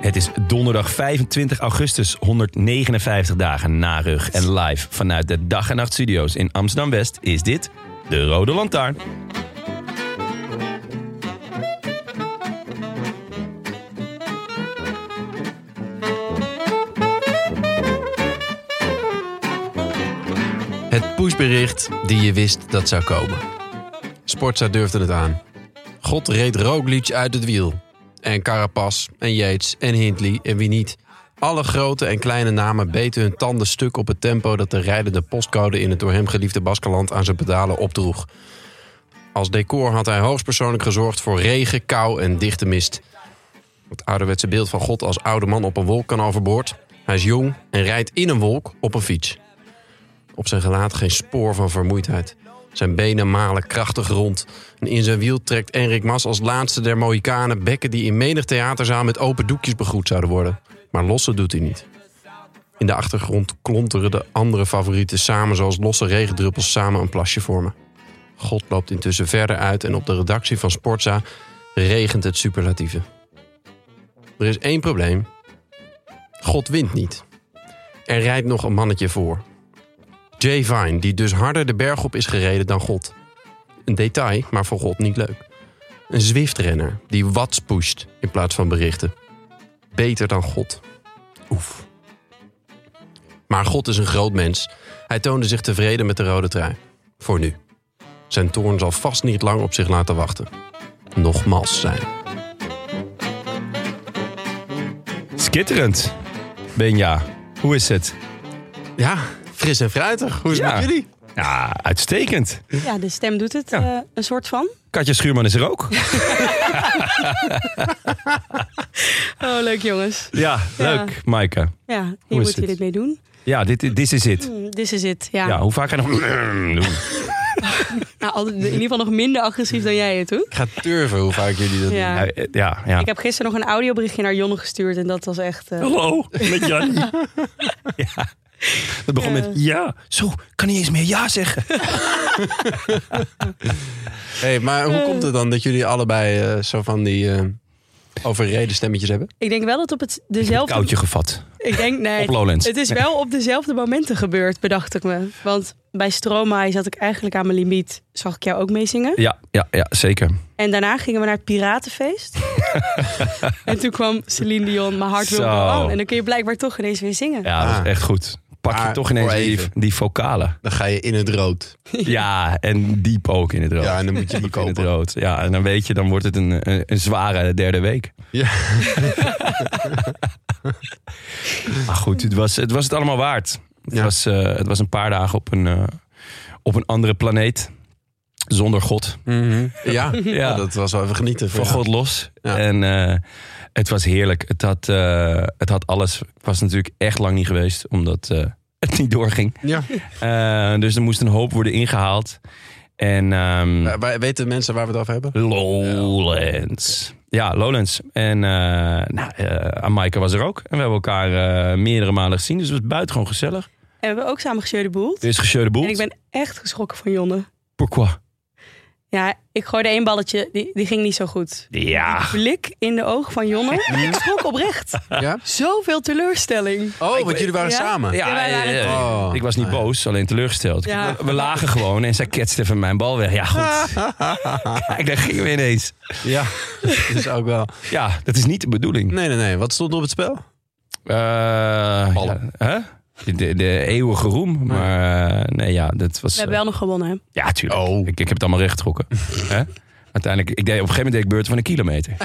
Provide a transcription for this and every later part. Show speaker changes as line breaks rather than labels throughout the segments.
Het is donderdag 25 augustus, 159 dagen na rug. En live vanuit de Dag en Nacht Studio's in Amsterdam-West is dit de Rode Lantaarn.
Het pushbericht die je wist dat zou komen. Sportza durfde het aan. God reed Roglic uit het wiel. En Carapaz en Yates en Hindley en wie niet. Alle grote en kleine namen beten hun tanden stuk op het tempo dat de rijdende postcode in het door hem geliefde Baskeland aan zijn pedalen opdroeg. Als decor had hij hoogstpersoonlijk gezorgd voor regen, kou en dichte mist. Het ouderwetse beeld van God als oude man op een wolk kan overboord. Hij is jong en rijdt in een wolk op een fiets. Op zijn gelaat geen spoor van vermoeidheid. Zijn benen malen krachtig rond. En in zijn wiel trekt Enrik Mas als laatste der Mohikanen bekken die in menig theaterzaal met open doekjes begroet zouden worden. Maar losse doet hij niet. In de achtergrond klonteren de andere favorieten samen zoals losse regendruppels samen een plasje vormen. God loopt intussen verder uit en op de redactie van Sportza regent het superlatieve. Er is één probleem. God wint niet. Er rijdt nog een mannetje voor. Jay Vine, die dus harder de berg op is gereden dan God. Een detail, maar voor God niet leuk. Een Zwift-renner die watts pusht in plaats van berichten. Beter dan God. Oef. Maar God is een groot mens. Hij toonde zich tevreden met de rode trui. Voor nu. Zijn toorn zal vast niet lang op zich laten wachten. Nogmaals zijn.
Skitterend. Benja, hoe is het?
Ja, fris en fruitig. Hoe is het
Ja.
met jullie?
Ja, uitstekend.
Ja, de stem doet het
Ja.
eh, een soort van.
Katja Schuurman is er ook.
Oh, leuk jongens.
Ja, leuk. Maaike.
Ja, hier
Hoe is
moeten
het?
jullie het mee doen.
Ja, dit dit is het.
Hm, This is it. Ja.
Ja, hoe vaak ga je nog... doen?
Nou, al- in ieder geval nog minder agressief dan jij het doet.
Ik ga turven hoe vaak jullie dat
Ja.
Ja, eh, ja. ja.
Ik heb gisteren nog een audioberichtje naar Jonne gestuurd en dat was echt... eh,
Hallo, met Jan. ja. Dat begon met ja. Zo, kan niet eens meer ja zeggen.
Hé, hey, maar hoe komt het dan dat jullie allebei eh, zo van die eh, overreden stemmetjes hebben?
ik denk wel dat op het
Zelf...
dezelfde...
Koudje gevat.
ik denk, nee,
Op Lowlands.
het is wel op dezelfde momenten gebeurd, bedacht ik me. Want bij Stromae zat ik eigenlijk aan mijn limiet, zag ik jou ook meezingen.
Ja, ja, ja, zeker.
En daarna gingen we naar het Piratenfeest. en toen kwam Celine Dion, mijn hart wil
Zo.
Go On. En dan kun je blijkbaar toch ineens weer zingen.
Ja, dat
Ah.
is echt goed. Pak je
Maar
toch ineens
voor
die,
even.
die vocalen.
Dan ga je in het rood.
Ja, en diep ook in het rood.
Ja, en dan moet je die
Diep in het
kopen.
rood. Ja, en dan weet je, dan wordt het een, een, een zware derde week.
Ja.
Maar goed, het was het, was het allemaal waard. Het,
Ja.
was, eh, het was een paar dagen op een, eh, op een andere planeet. Zonder God.
ja.
Ja.
dat was wel even genieten.
Van
Ja.
God los.
Ja.
En eh, het was heerlijk. Het had, eh, het had alles. Ik was natuurlijk echt lang niet geweest, omdat eh, het niet doorging.
Ja.
Eh, dus er moest een hoop worden ingehaald. En ehm,
Maar- maar weten mensen waar we het over hebben?
Lowlands. Ja, Lowlands. En eh nou, eh, Amaika was er ook. En we hebben elkaar eh, meerdere malen gezien. Dus het was buitengewoon gezellig.
En we hebben ook samen gescheurde boel.
Er is Gecheur de Boel.
En ik ben echt geschrokken van Jonne.
Pourquoi?
Ja, ik gooide één balletje, die, die ging niet zo goed.
Ja.
Blik in de oog van Jonne. ik schrok oprecht.
Ja?
Zoveel teleurstelling.
Oh, want jullie waren
Ja.
samen.
Ja,
wij waren
eh,
toch-
ik was niet boos, alleen teleurgesteld.
Ja.
We, we lagen gewoon en zij ketste even mijn bal weg. Ja, goed. Kijk, daar gingen we ineens.
Ja, dat is ook wel.
Ja, dat is niet de bedoeling.
Nee, nee, nee. Wat stond er op het spel?
Eh, ja,
Ballen.
hè? De, de eeuwige roem. Maar eh, nee, ja, dat was... eh,
We hebben wel nog gewonnen, hè?
Ja, tuurlijk.
Oh.
Ik, ik heb het allemaal recht getrokken. Hè? Uiteindelijk, ik deed, op een gegeven moment deed ik beurten van een kilometer.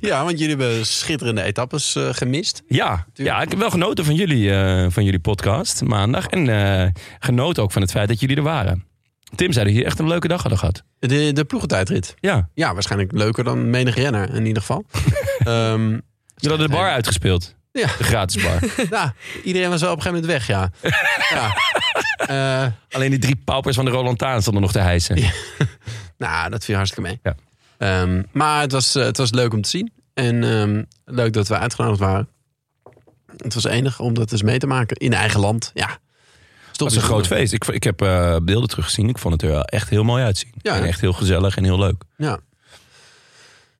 Ja, want jullie hebben schitterende etappes eh, gemist.
Ja, ja, ik heb wel genoten van jullie, eh, van jullie podcast maandag. En eh genoten ook van het feit dat jullie er waren. Tim zei dat jullie echt een leuke dag hadden gehad.
De, de ploegentijdrit.
Ja,
Ja, waarschijnlijk leuker dan menig renner in ieder geval. Ehm,
jullie hadden de bar uitgespeeld.
Ja.
De gratis bar.
nou, iedereen was wel op een gegeven moment weg, ja. ja. Eh,
Alleen die drie paupers van de Roland Taan stonden nog te hijsen.
Ja. nou, dat viel hartstikke mee.
Ja.
Ehm, maar het was, eh, het was leuk om te zien. En ehm, leuk dat we uitgenodigd waren. Het was enig om dat eens mee te maken in eigen land. Ja. Het
Dat was een groot feest. Ik, ik heb eh, beelden teruggezien. Ik vond het er wel echt heel mooi uitzien.
Ja,
en
ja.
echt heel gezellig en heel leuk.
Ja.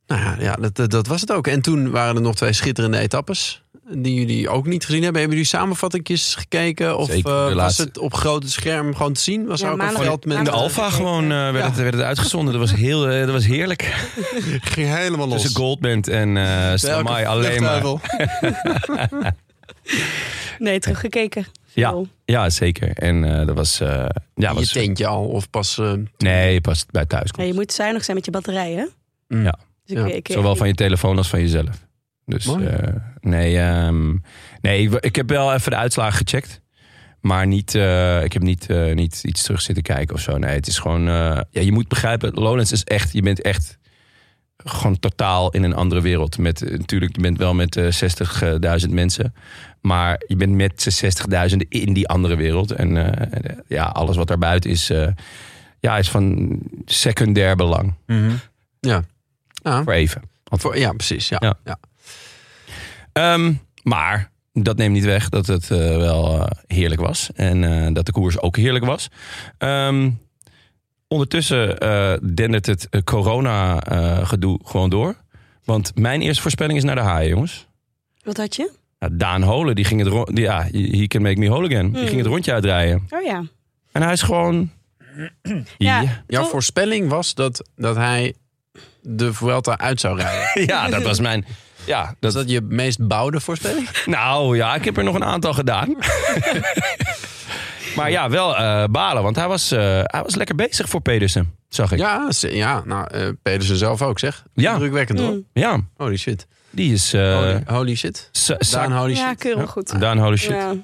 Nou ja, ja dat, dat, dat was het ook. En toen waren er nog twee schitterende etappes. Die jullie ook niet gezien hebben. Hebben jullie samenvattingjes gekeken? Of
Zeker, de
eh, was
laatste.
het op grote scherm gewoon te zien? Was
Ja,
er ook een
maandag-
veld met
In de
maandag-
Alfa gewoon eh, werd, het, werd het uitgezonden. Dat was, heel, eh, dat was heerlijk.
ging helemaal los.
Tussen Goldband en eh Stromae alleen maar.
Nee, teruggekeken.
Ja,
Veel.
ja, zeker. En eh, dat was... eh, ja,
je
was
tentje al of pas... eh,
nee, pas bij thuis.
Ja, je moet zuinig zijn met je batterijen.
mm.
Ja.
Dus
Ja,
ik, ik,
Zowel van je telefoon als van jezelf. Dus
Mooi.
eh, nee, ehm, nee ik, ik heb wel even de uitslagen gecheckt. Maar niet, eh, ik heb niet, eh, niet iets terug zitten kijken of zo. Nee, het is gewoon... eh, ja, je moet begrijpen, Lowlands is echt... Je bent echt gewoon totaal in een andere wereld. Met, eh, natuurlijk, je bent wel met eh, 60.000 mensen. Maar je bent met z'n 60.000 in die andere wereld. En eh, ja, alles wat daarbuiten is... eh, ja, is van secundair belang.
Mhm. Ja. Ja.
Voor even.
Voor, ja, precies. Ja.
Ja.
Ja.
Ehm, maar dat neemt niet weg dat het eh, wel eh, heerlijk was. En eh, dat de koers ook heerlijk was. Ehm, ondertussen eh dendert het corona-gedoe gewoon door. Want mijn eerste voorspelling is naar de haaien, jongens.
Wat had je?
Nou, Daan Holen, die ging het ro- die- ja, he can make me whole again. Die
Hmm.
ging het rondje uitdraaien.
Oh ja.
En hij is gewoon...
Ja.
Jouw
Oh.
voorspelling was dat, dat hij de Vuelta uit zou rijden.
ja, dat was mijn... Ja,
Is
dat,
dat je meest bouwde voorspelling?
Nou ja, ik heb er nog een aantal gedaan. maar ja, wel eh, balen, want hij was, eh, hij was lekker bezig voor Pedersen, zag ik. Ja,
Ja, ze- ja nou, eh, Pedersen zelf ook, zeg.
Ja.
Drukwekkend,
Mm.
hoor. Holy shit.
die is... eh,
Holy, holy shit.
Sa- Sa-
Oh, Daan, holy
Ja,
shit.
keurig goed.
Daan, holy shit.
Ja.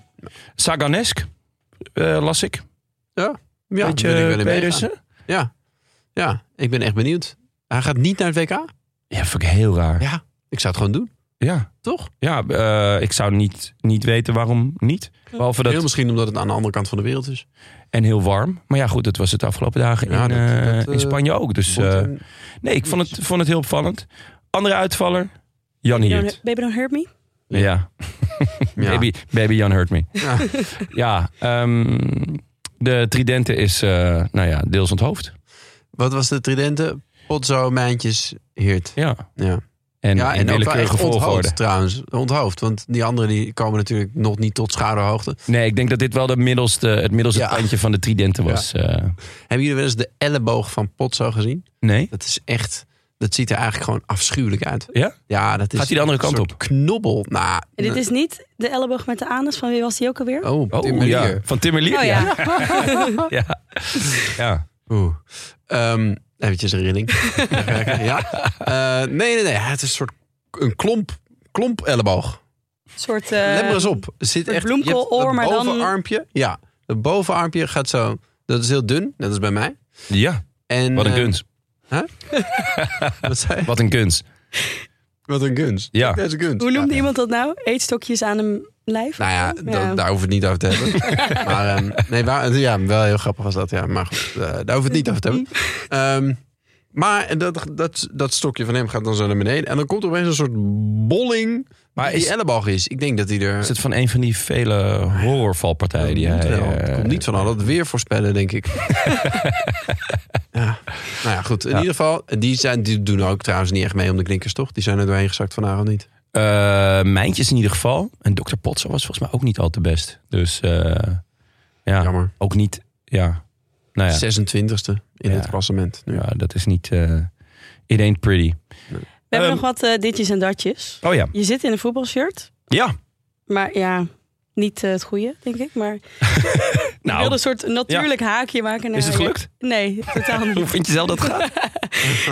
Saganesk, eh, las ik.
Ja,
Weet
wil ik wel
je,
in meegaan.
Pedersen?
Ja. ja, ik ben echt benieuwd. Hij gaat niet naar het WK?
Ja, vind ik heel raar.
Ja. Ik zou het gewoon doen,
Ja,
toch?
ja, eh, ik zou niet, niet weten waarom niet. Behalve
Heel
dat...
misschien omdat het aan de andere kant van de wereld is.
En heel warm. Maar ja, goed, dat was het de afgelopen dagen
Ja,
in,
dat-
eh,
dat, eh,
in Spanje ook. Dus
Moet,
eh,
eh,
nee, ik vond het, vond het heel opvallend. Andere uitvaller, Jan
Baby,
Hiert.
don't, baby don't hurt me.
Ja.
ja.
Baby, baby Jan hurt me.
Ja.
Ja, ehm, de Tridente is eh, nou ja, deels onthoofd.
Wat was de tridente? Potzo, Mijntjes, Heert.
Ja.
Ja,
En
ja
in
ook wel
willekeurige
echt
volgorde.
onthoofd trouwens. Onthoofd, want die anderen die komen natuurlijk nog niet tot schadehoogte.
Nee, ik denk dat dit wel de middelste, het middelste
Ja.
tandje van de Tridente was. eh.
Hebben jullie wel eens de elleboog van Potzo gezien?
nee?
Dat is echt... Dat ziet er eigenlijk gewoon afschuwelijk uit.
Ja?
Ja, dat is
Gaat hij de andere
een
kant
soort
op?
knobbel. Nou,
En dit is niet de elleboog met de anus. Van wie was die ook alweer?
Oh,
Oh
Tim
ja,
Merlier.
van Timmerlier.
Oh
ja.
ja.
Ja. ja.
Oeh. Ehm, eventjes een rilling. ja. Eh, nee, nee, nee. Het is een soort een klomp, klomp elleboog.
Een soort... eh,
Let maar eens op. Er zit
een
echt,
bloemkooloor,
je hebt
maar
het
dan-
bovenarmpje. Ja, het bovenarmpje gaat zo. Dat is heel dun. Dat is bij mij.
Ja,
En,
wat een
eh,
kunst.
Wat, zei je?
Wat een kunst.
Wat een kunst.
Ja.
Dat is een kunst.
Hoe noemde
Ja.
iemand dat nou? Eetstokjes aan een lijf?
Nou ja,
Ja.
da- daar hoeven we het niet over te hebben. maar ehm, nee, waar, ja, wel heel grappig was dat. Ja, maar goed, eh, daar hoeven we het niet over te hebben. Ehm, maar dat, dat, dat stokje van hem gaat dan zo naar beneden. En dan komt er opeens een soort bolling
Maar
die
is-
die elleboog is. Ik denk dat hij er...
Is het van een van die vele horrorvalpartijen die
Moet
hij...
wel.
eh,
Het komt niet van al dat weer voorspellen, denk ik. ja. Nou ja, goed. In ieder geval, die, zijn, die doen ook trouwens niet echt mee om de klinkers, toch? Die zijn er doorheen gezakt vanavond niet.
eh Mijntjes in ieder geval. En Dr. Potso was volgens mij ook niet al te best. Dus eh, ja,
Jammer.
ook niet... Ja, nou ja,
26e
Ja.
in het klassement. Nu.
ja dat is niet... eh it ain't pretty.
We hebben
Ehm,
nog wat eh, ditjes en datjes.
Oh ja.
Je zit in een voetbalshirt,
Ja,
maar ja, niet eh, het goede, denk ik. Maar Ik
Nou,
wilde een soort natuurlijk haakje maken. Naar
Is het gelukt?
Nee, totaal
hoe
niet.
vind je zelf dat gaat?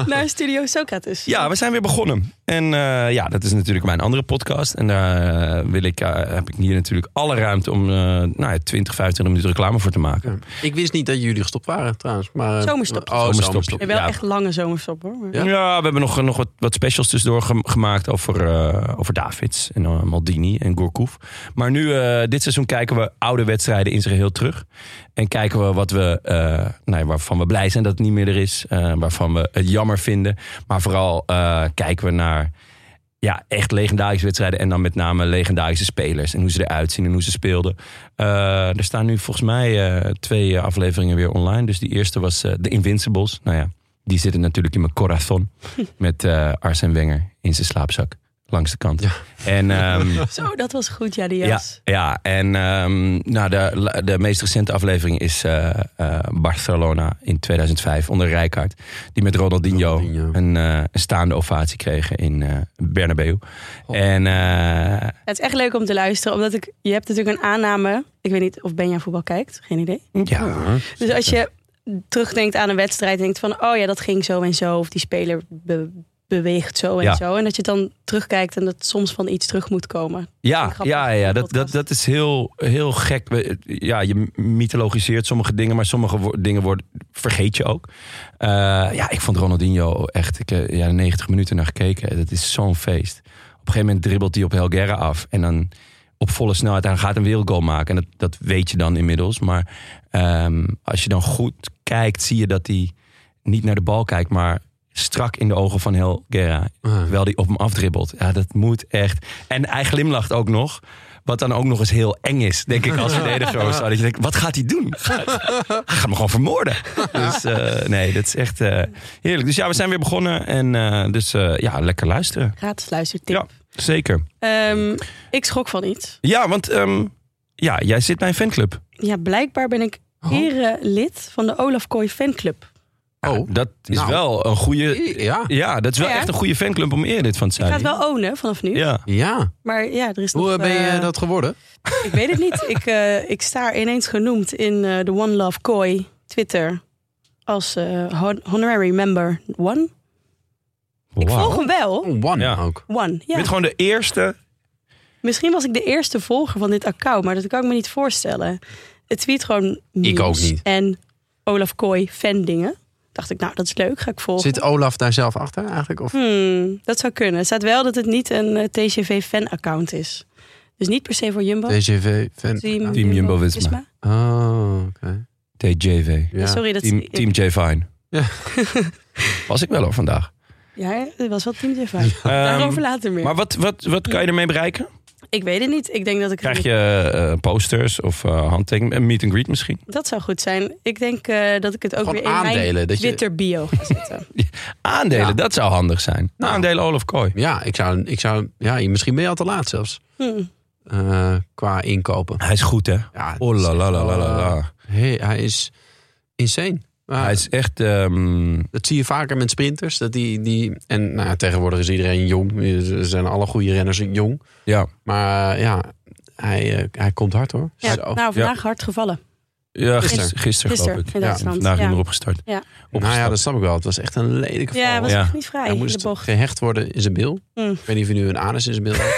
naar Studio Socrates.
Ja, we zijn weer begonnen. En eh, ja, dat is natuurlijk mijn andere podcast. En daar eh, wil ik, eh, heb ik hier natuurlijk alle ruimte om eh nou, ja, 20, 25 minuten reclame voor te maken.
Ja. Ik wist niet dat jullie gestopt waren trouwens. Maar,
Zomerstop.
Oh,
Zomerstop.
zomerstop.
En wel
Ja.
echt lange zomerstop hoor. Maar-
Ja, we hebben nog, nog wat, wat specials tussendoor gem- gemaakt over, eh, over Davids en eh, Maldini en Gourcouf. Maar nu, eh, dit seizoen, kijken we oude wedstrijden in zijn geheel terug. En kijken we wat we, eh, nou ja, waarvan we blij zijn dat het niet meer er is. eh, waarvan we het jammer vinden. Maar vooral eh, kijken we naar ja, echt legendarische wedstrijden. En dan met name legendarische spelers. En hoe ze eruit zien en hoe ze speelden. Eh, er staan nu volgens mij eh, twee eh, afleveringen weer online. Dus die eerste was eh The Invincibles. Nou ja, die zitten natuurlijk in mijn corazon. Met eh Arsène Wenger in zijn slaapzak. Langs de kant.
Ja.
En ehm,
Zo, dat was goed, ja, die
ja,
jas.
ja, en ehm, nou, de, de meest recente aflevering is eh, eh, Barcelona in 2005 onder Rijkaard. Die met Ronaldinho,
Ronaldinho.
Een, eh, een staande ovatie kregen in eh Bernabeu.
Oh.
En eh,
Het is echt leuk om te luisteren, omdat ik, je hebt natuurlijk een aanname. Ik weet niet of Benja voetbal kijkt, geen idee.
ja,
Dus als je terugdenkt aan een wedstrijd en denkt van, oh ja, dat ging zo en zo. Of die speler be- beweegt zo en
Ja.
zo. En dat je dan terugkijkt en dat soms van iets terug moet komen.
Ja,
Grappig,
ja, ja
die
dat, dat,
podcast.
dat is heel, heel gek. We- Ja, je mythologiseert sommige dingen, maar sommige wo- dingen worden, vergeet je ook. Eh, ja, ik vond Ronaldinho echt, ik heb ja, 90 minuten naar gekeken. Dat is zo'n feest. Op een gegeven moment dribbelt hij op Helguera af en dan op volle snelheid. Hij gaat een wereldgoal maken en dat, dat weet je dan inmiddels. Maar ehm, als je dan goed kijkt, zie je dat hij niet naar de bal kijkt, maar strak in de ogen van Helguera.
Ah.
Terwijl die op hem afdribbelt. Ja, dat moet echt. En hij glimlacht ook nog. Wat dan ook nog eens heel eng is, denk ik, als verdediger. of zo. Dat je denkt, wat gaat hij doen? Hij gaat me gewoon vermoorden. Dus eh, nee, dat is echt eh, heerlijk. Dus ja, we zijn weer begonnen. En eh, dus eh, ja, lekker luisteren.
Gratis luistertip.
Ja, zeker.
Ehm, ik schrok van iets.
Ja, want ehm, ja, jij zit bij een fanclub.
Ja, blijkbaar ben ik ere lid van de Olaf Kooi fanclub.
Oh,
Dat is
Nou.
wel een goede...
ja.
Ja, dat is wel
Ja.
echt een goede fanclub om eerder dit van te
Ik
zijn.
ga het wel ownen vanaf nu.
Ja.
Ja.
Maar ja, er is
Hoe
nog,
eh, ben je
eh,
dat geworden?
Ik weet het niet. Ik, eh, ik sta ineens genoemd in eh, de One Love Koi Twitter. Als eh, hon- honorary member one. Ik
Wauw.
volg hem wel.
Oh, one
Ja.
ook.
One,
Je
ja.
bent gewoon de eerste...
Misschien was ik de eerste volger van dit account, maar dat kan ik me niet voorstellen. Het tweet gewoon nieuws
ook niet.
En Olaf Kooi fan dingen. Dacht ik, nou, dat is leuk, ga ik volgen.
Zit Olaf daar zelf achter eigenlijk? Of?
Hmm, dat zou kunnen. Het staat wel dat het niet een eh, TCV fan account is. Dus niet per se voor Jumbo.
DGV, fan.
Team,
Jumbo Visma.
Oh, oké.
TJV.
Ja.
Sorry, dat
Team, team J Fine.
Ja.
Was ik wel hoor vandaag.
Ja, het was wel Team J5. Daarover
Ehm,
later meer.
maar wat, wat, wat kan je ermee bereiken?
Ik weet het niet. Ik denk dat ik.
Krijg je eh, posters of eh handtekeningen? Een meet and greet misschien?
Dat zou goed zijn. Ik denk eh, dat ik het ook
Gewoon
weer in mijn
aandelen, dat je-
Twitter bio ga zetten.
Aandelen,
Ja.
dat zou handig zijn.
Nou.
Aandelen Olaf Kooi.
Ja, ik zou, ik zou, ja, misschien ben je al te laat zelfs.
Hm.
eh, qua inkopen.
Hij is goed hè?
Ja, het
Oh
is
la la
echt
la la
wel,
la
eh,
la.
Hey, hij is insane. Maar
Hij is echt... ehm,
Dat zie je vaker met sprinters. Dat die, die, en nou, ja, tegenwoordig is iedereen jong. Er zijn alle goede renners jong.
ja.
Maar eh, ja, hij, eh, hij komt hard hoor.
Ja,
Zo.
nou, vandaag hard gevallen.
ja, gisteren.
Gisteren.
Gisteren geloof
Gisteren
ik.
in
Ja,
Duitsland.
Vandaag niet
ja.
meer opgestart.
Ja.
nou ja,
Opgestart.
dat snap ik wel. Het was echt een lelijke val.
Ja, hij was
Ja.
echt niet vrij.
hij
in
moest
de bocht.
gehecht worden in zijn bil.
Hm.
Ik weet niet of hij nu een anus in zijn bil heeft.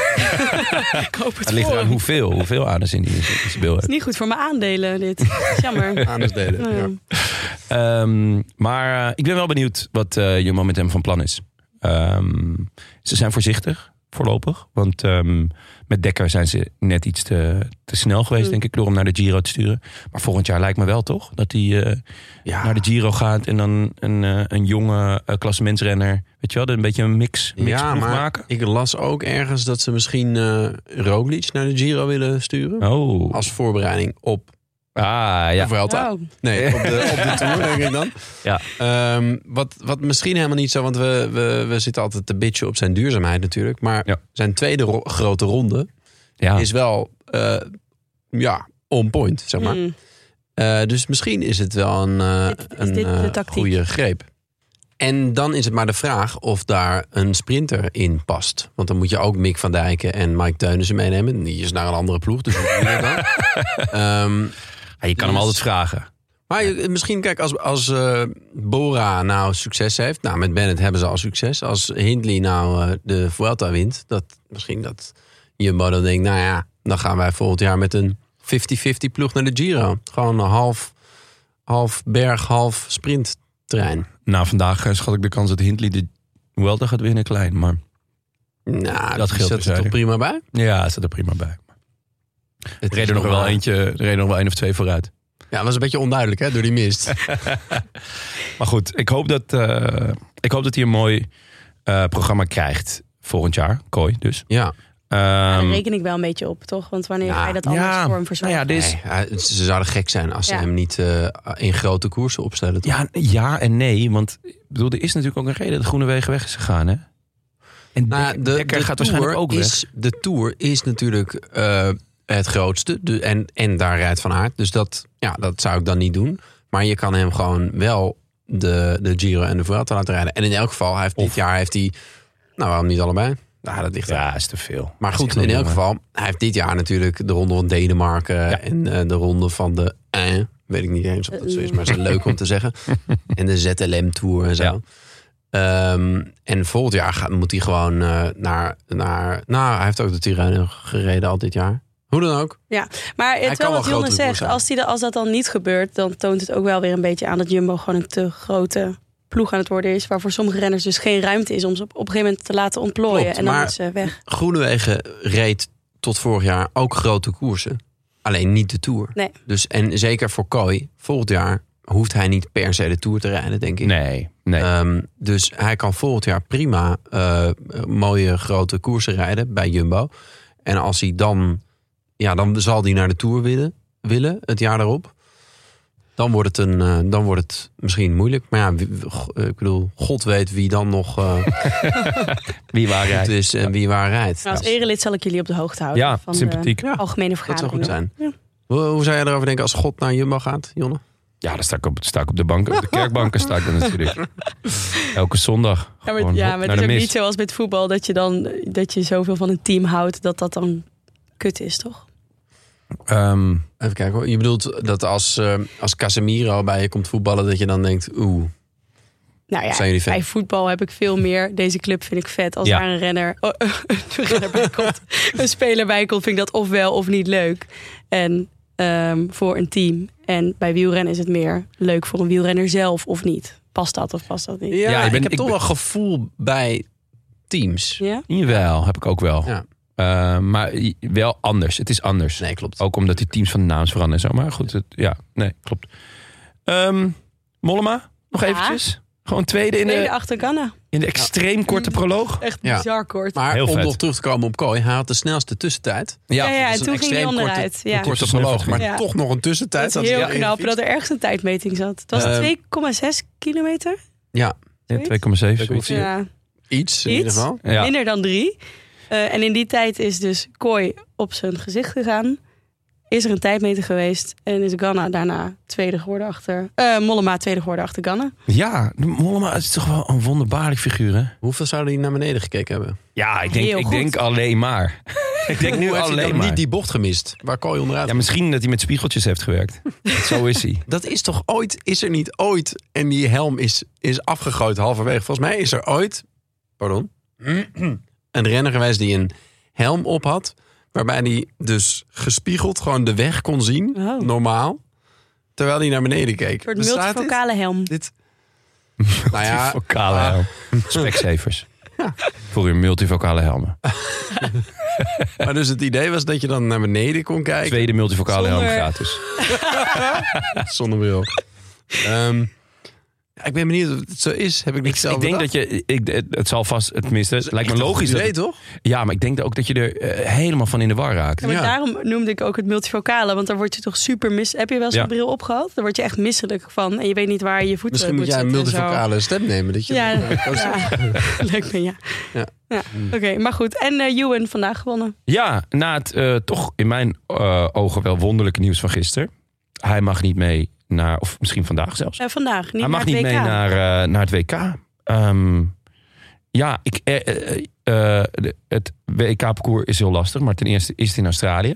Ik hoop het
Het ligt
voor
eraan
hem.
hoeveel, hoeveel anus in die in zijn beeld
Het
heeft.
is niet goed voor mijn aandelen, dit. Dat is Jammer.
Anus delen.
Ja. Nou,
Ja.
Ehm, maar eh, ik ben wel benieuwd wat eh Jumbo met hem van plan is. Ehm, ze zijn voorzichtig voorlopig. Want ehm, met Dekker zijn ze net iets te, te snel geweest,
Mm.
denk ik, door hem naar de Giro te sturen. Maar volgend jaar lijkt me wel toch dat hij eh,
Ja.
naar de Giro gaat en dan een, eh, een jonge uh, klassementsrenner. Weet je wel, een beetje een mix, mix
Ja, maar
maken.
ik las ook ergens dat ze misschien eh Roglic naar de Giro willen sturen.
Oh,
Als voorbereiding op
ah ja.
de Vuelta.
Wow.
Nee, op de, op de Tour denk ik dan.
Ja.
Ehm, wat, wat misschien helemaal niet zo, want we, we, we zitten altijd te bitchen op zijn duurzaamheid natuurlijk. Maar
Ja. Ah.
zijn tweede ro- grote ronde
ja.
is wel eh, ja, on point, zeg maar.
Hm.
Eh, dus misschien is het wel een, eh,
Dit- is
een
dit de
eh,
tactiek?
goede greep. En dan is het maar de vraag of daar een sprinter in past. Want dan moet je ook Mick van Dijken en Mike Teunissen meenemen. Die is naar een andere ploeg, dus hoe doe je dat dan? Ehm,
Ja, Ah, je kan hem
Yes.
altijd vragen.
Maar je- misschien, kijk, als, als eh, Bora nou succes heeft. Nou, met Bennett hebben ze al succes. Als Hindley nou eh, de Vuelta wint. Dat, misschien dat Jumbo dan denkt, nou ja, dan gaan wij volgend jaar met een 50-50 ploeg naar de Giro. Gewoon een half, half berg, half sprinttrein.
Nou, vandaag eh, schat ik de kans dat Hindley de Welter gaat winnen klein. Maar
Nou,
Dat
dat
scheelt
zit er toch
bezijden.
prima bij?
ja, het staat er prima bij.
Het
Er reden
is
nog wel
maar-
eentje, er reden nog wel één of twee vooruit.
Ja, het was een beetje onduidelijk, hè, door die mist.
Maar goed, ik hoop dat, eh, ik hoop dat hij een mooi eh, programma krijgt volgend jaar. Kooi dus.
ja.
Daar
Ehm,
reken ik wel een beetje op, toch? Want wanneer
Ja.
ga je dat anders voor hem verzorgen?
nou ja, dit is-
Nee, hij- ze zouden gek zijn als ze
Ja.
hem niet eh, in grote koersen opstellen. toch?
ja, ja en nee, want ik bedoel, er is natuurlijk ook een reden dat Groenewegen weg is gegaan, hè? En
Nou ja,
Dekker, Dekker gaat waarschijnlijk
Tour
ook weg.
is, De Tour is natuurlijk eh, het grootste. De, en, en daar rijdt Van Aert. Dus dat, ja, dat zou ik dan niet doen. Maar je kan hem gewoon wel de, de Giro en de Vuelta laten rijden. En in elk geval, hij heeft dit jaar heeft hij... Nou, waarom niet allebei? Nou, dat ligt eraan.
Ja, is te veel. Dat
Maar
is
goed,
echt een
in elk
jongen.
geval, hij heeft dit jaar natuurlijk de ronde van Denemarken en eh, de ronde van de eh, weet ik niet eens of dat zo is, maar het is leuk om te zeggen. En de ZLM Tour en zo.
Ja.
Ehm, en volgend jaar gaat, moet hij gewoon eh, naar, naar, nou, hij heeft ook de Tirreno gereden al dit jaar. Hoe dan ook.
Maar
Hij
het
kan wel
wel wat Jonne
grotere koers
zegt,
zijn.
als, die, de- als dat dan niet gebeurt, dan toont het ook wel weer een beetje aan dat Jumbo gewoon een te grote ploeg aan het worden is. Waarvoor sommige renners dus geen ruimte is om ze op, op een gegeven moment te laten ontplooien.
Klopt,
en dan
maar-
is ze weg.
Groenewegen reed tot vorig jaar ook grote koersen. Alleen niet de Tour.
Nee.
Dus, en zeker voor Kooi, volgend jaar hoeft hij niet per se de Tour te rijden, denk ik.
Nee, nee.
Ehm, dus hij kan volgend jaar prima eh, mooie grote koersen rijden bij Jumbo. En als hij dan, ja, dan zal hij naar de Tour willen, willen het jaar daarop. Dan wordt, het een, eh, dan wordt het misschien moeilijk. Maar ja, wie- wie- go- eh, ik bedoel, God weet wie dan nog eh,
Wie waren
goed
jij?
is en wie waar rijdt.
Maar als erelid zal ik jullie op de hoogte houden
Ja,
van
sympathiek.
de algemene
Dat zou
vergadering.
goed zijn.
Ja.
Hoe, hoe zou jij erover denken als God naar Jumbo gaat, Jonne?
Ja, dan sta ik op, sta ik op de banken, op de kerkbanken sta ik dan natuurlijk. Elke zondag.
Ja, maar,
gewoon
ja,
hop,
maar
naar
het
de
is ook
mis.
niet zoals met voetbal dat je dan dat je zoveel van een team houdt dat dat dan kut is, toch?
Ehm,
Even kijken hoor. Je bedoelt dat als, eh, als Casemiro bij je komt voetballen, dat je dan denkt, oeh.
Nou ja,
Zijn jullie fan?
bij voetbal heb ik veel meer. Deze club vind ik vet. Als
Ja.
daar een renner, oh, een, renner bij komt, een speler bij komt, vind ik dat of wel of niet leuk. En ehm, voor een team. En bij wielrennen is het meer leuk voor een wielrenner zelf of niet. Past dat of past dat niet?
Ja,
Ja, ik
ik,
ben-
heb
ik
toch
ben-
wel gevoel bij teams.
Ja?
Jawel, heb ik ook wel.
Ja.
Eh, maar i- wel anders. Het is anders.
Nee, klopt.
Ook omdat die teams van de naams veranderen en zo. Maar goed, het- ja, nee, klopt. Ehm, Mollema, nog
Ja.
eventjes. Gewoon tweede in
Tweede
de,
achter Ganna.
in de extreem korte proloog.
Echt
Ja.
bizar kort.
Maar
Heel
om
vet.
nog terug te komen op Kooi, hij had de snelste tussentijd.
ja, ja,
dat is
en
een
toen ging
extreem
hij
korte-
onderuit. Ja.
Korte
Tussen
verloog, maar
Ja.
toch nog een
Dat
tussentijd.
is heel
ja.
knap dat er ergens een tijdmeting zat. Het was
Ehm,
2,6 kilometer.
Ja,
Ja, 2,7. zoiets.
Zie je.
Ja.
iets in ieder
Iets.
geval.
Ja.
minder dan drie. Eh, en in die tijd is dus Kooi op zijn gezicht gegaan. Is er een tijdmeter geweest en is Ganna daarna tweede geworden achter... eh, Mollema tweede geworden achter Ganna.
ja, de Mollema is toch wel een wonderbaarlijk figuur, hè?
Hoeveel zouden die naar beneden gekeken hebben?
Ja, ik denk,
Heel
ik
goed.
denk alleen maar. ik denk nu
Hoe heeft hij
alleen
dan
maar.
niet die bocht gemist, waar Kooi onderuit
Ja, misschien dat hij met spiegeltjes heeft gewerkt. zo is hij.
Dat is toch ooit, is er niet ooit. En die helm is, is afgegooid halverwege. Volgens mij is er ooit, pardon, een renner geweest die een helm op had. Waarbij die dus gespiegeld gewoon de weg kon zien,
Oh.
normaal. Terwijl hij naar beneden keek.
Een soort
Bestaat
multifocale helm.
Dit? dit nou ja,
Vocale
ah,
helm. Specsavers. Voor uw multivocale helmen.
maar dus het idee was dat je dan naar beneden kon kijken.
Tweede multivocale
Zonder-
helm gratis.
Zonder bril. Ehm, ja, ik ben benieuwd of het zo is. Heb ik niet zelf
Ik denk dat
bedacht.
je, ik, het- het zal vast, tenminste, het lijkt me
Echt een goed
logisch. Dat
idee,
het-
toch?
ja, maar ik denk ook dat je er eh, helemaal van in de war raakt.
Ja, maar
Ja.
daarom noemde ik ook het multifocale. Want daar word je toch super mis... Heb je wel zo'n
Ja.
bril opgehad? Daar word je echt misselijk van. En je weet niet waar je je voeten
Misschien moet jij een
zetten en zo.
multifocale stem nemen. Dat je
Ja,
dat is-
ja. leuk ben je.
Ja.
Ja.
Hmm.
Oké, maar goed. En eh Ewan vandaag gewonnen.
Ja, na het eh, toch in mijn eh, ogen wel wonderlijke nieuws van gisteren. Hij mag niet mee naar, of misschien vandaag zelfs.
Eh, vandaag, niet
Hij mag niet
naar het
mee
WK.
naar, eh, naar het WK. Ehm, ja, ik, eh, eh, eh, de- het WK-parcours is heel lastig. Maar ten eerste is het in Australië.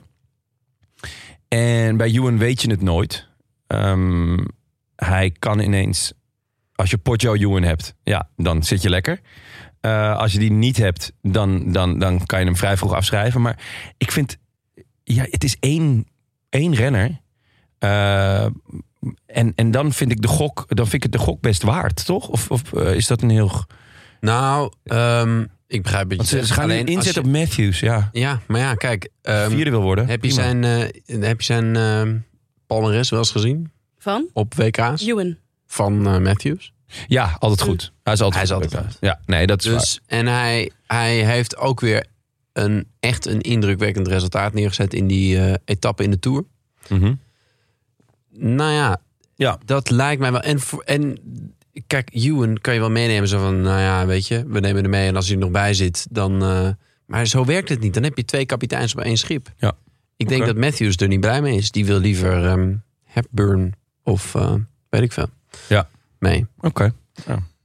En bij Ewan weet je het nooit. Ehm, hij kan ineens, als je Potjo Ewan hebt, ja, dan zit je lekker. Eh, als je die niet hebt, dan, dan, dan kan je hem vrij vroeg afschrijven. Maar ik vind, ja, het is één, één renner. Eh, en, en dan vind ik de gok, dan vind ik het de gok best waard, toch? Of, of eh, is dat een heel.
Nou, ehm, ik begrijp het.
Want ze, ze gaan alleen inzetten op Matthews, ja.
Ja, maar ja, kijk. ehm,
Vierde wil worden.
heb
prima.
je zijn, eh, heb je zijn ehm, palmares wel eens gezien?
Van?
Op WK's?
Ewan.
Van eh, Matthews?
Ja, altijd goed. Hij is altijd,
Hij is
goed.
altijd goed.
Ja, nee, dat is waar.
Dus, en hij, hij heeft ook weer een, echt een indrukwekkend resultaat neergezet in die eh, etappe in de Tour.
Mhm.
Nou ja,
Ja.
dat lijkt mij wel. En, voor- en kijk, Ewan kan je wel meenemen. Zo van, nou ja, weet je, we nemen hem mee. En als hij er nog bij zit, dan... eh, maar zo werkt het niet. Dan heb je twee kapiteins op één schip.
Ja.
Ik denk
Oké.
dat Matthews er niet blij mee is. Die wil liever ehm, Hepburn of eh, weet ik veel.
Ja.
Mee.
Oké.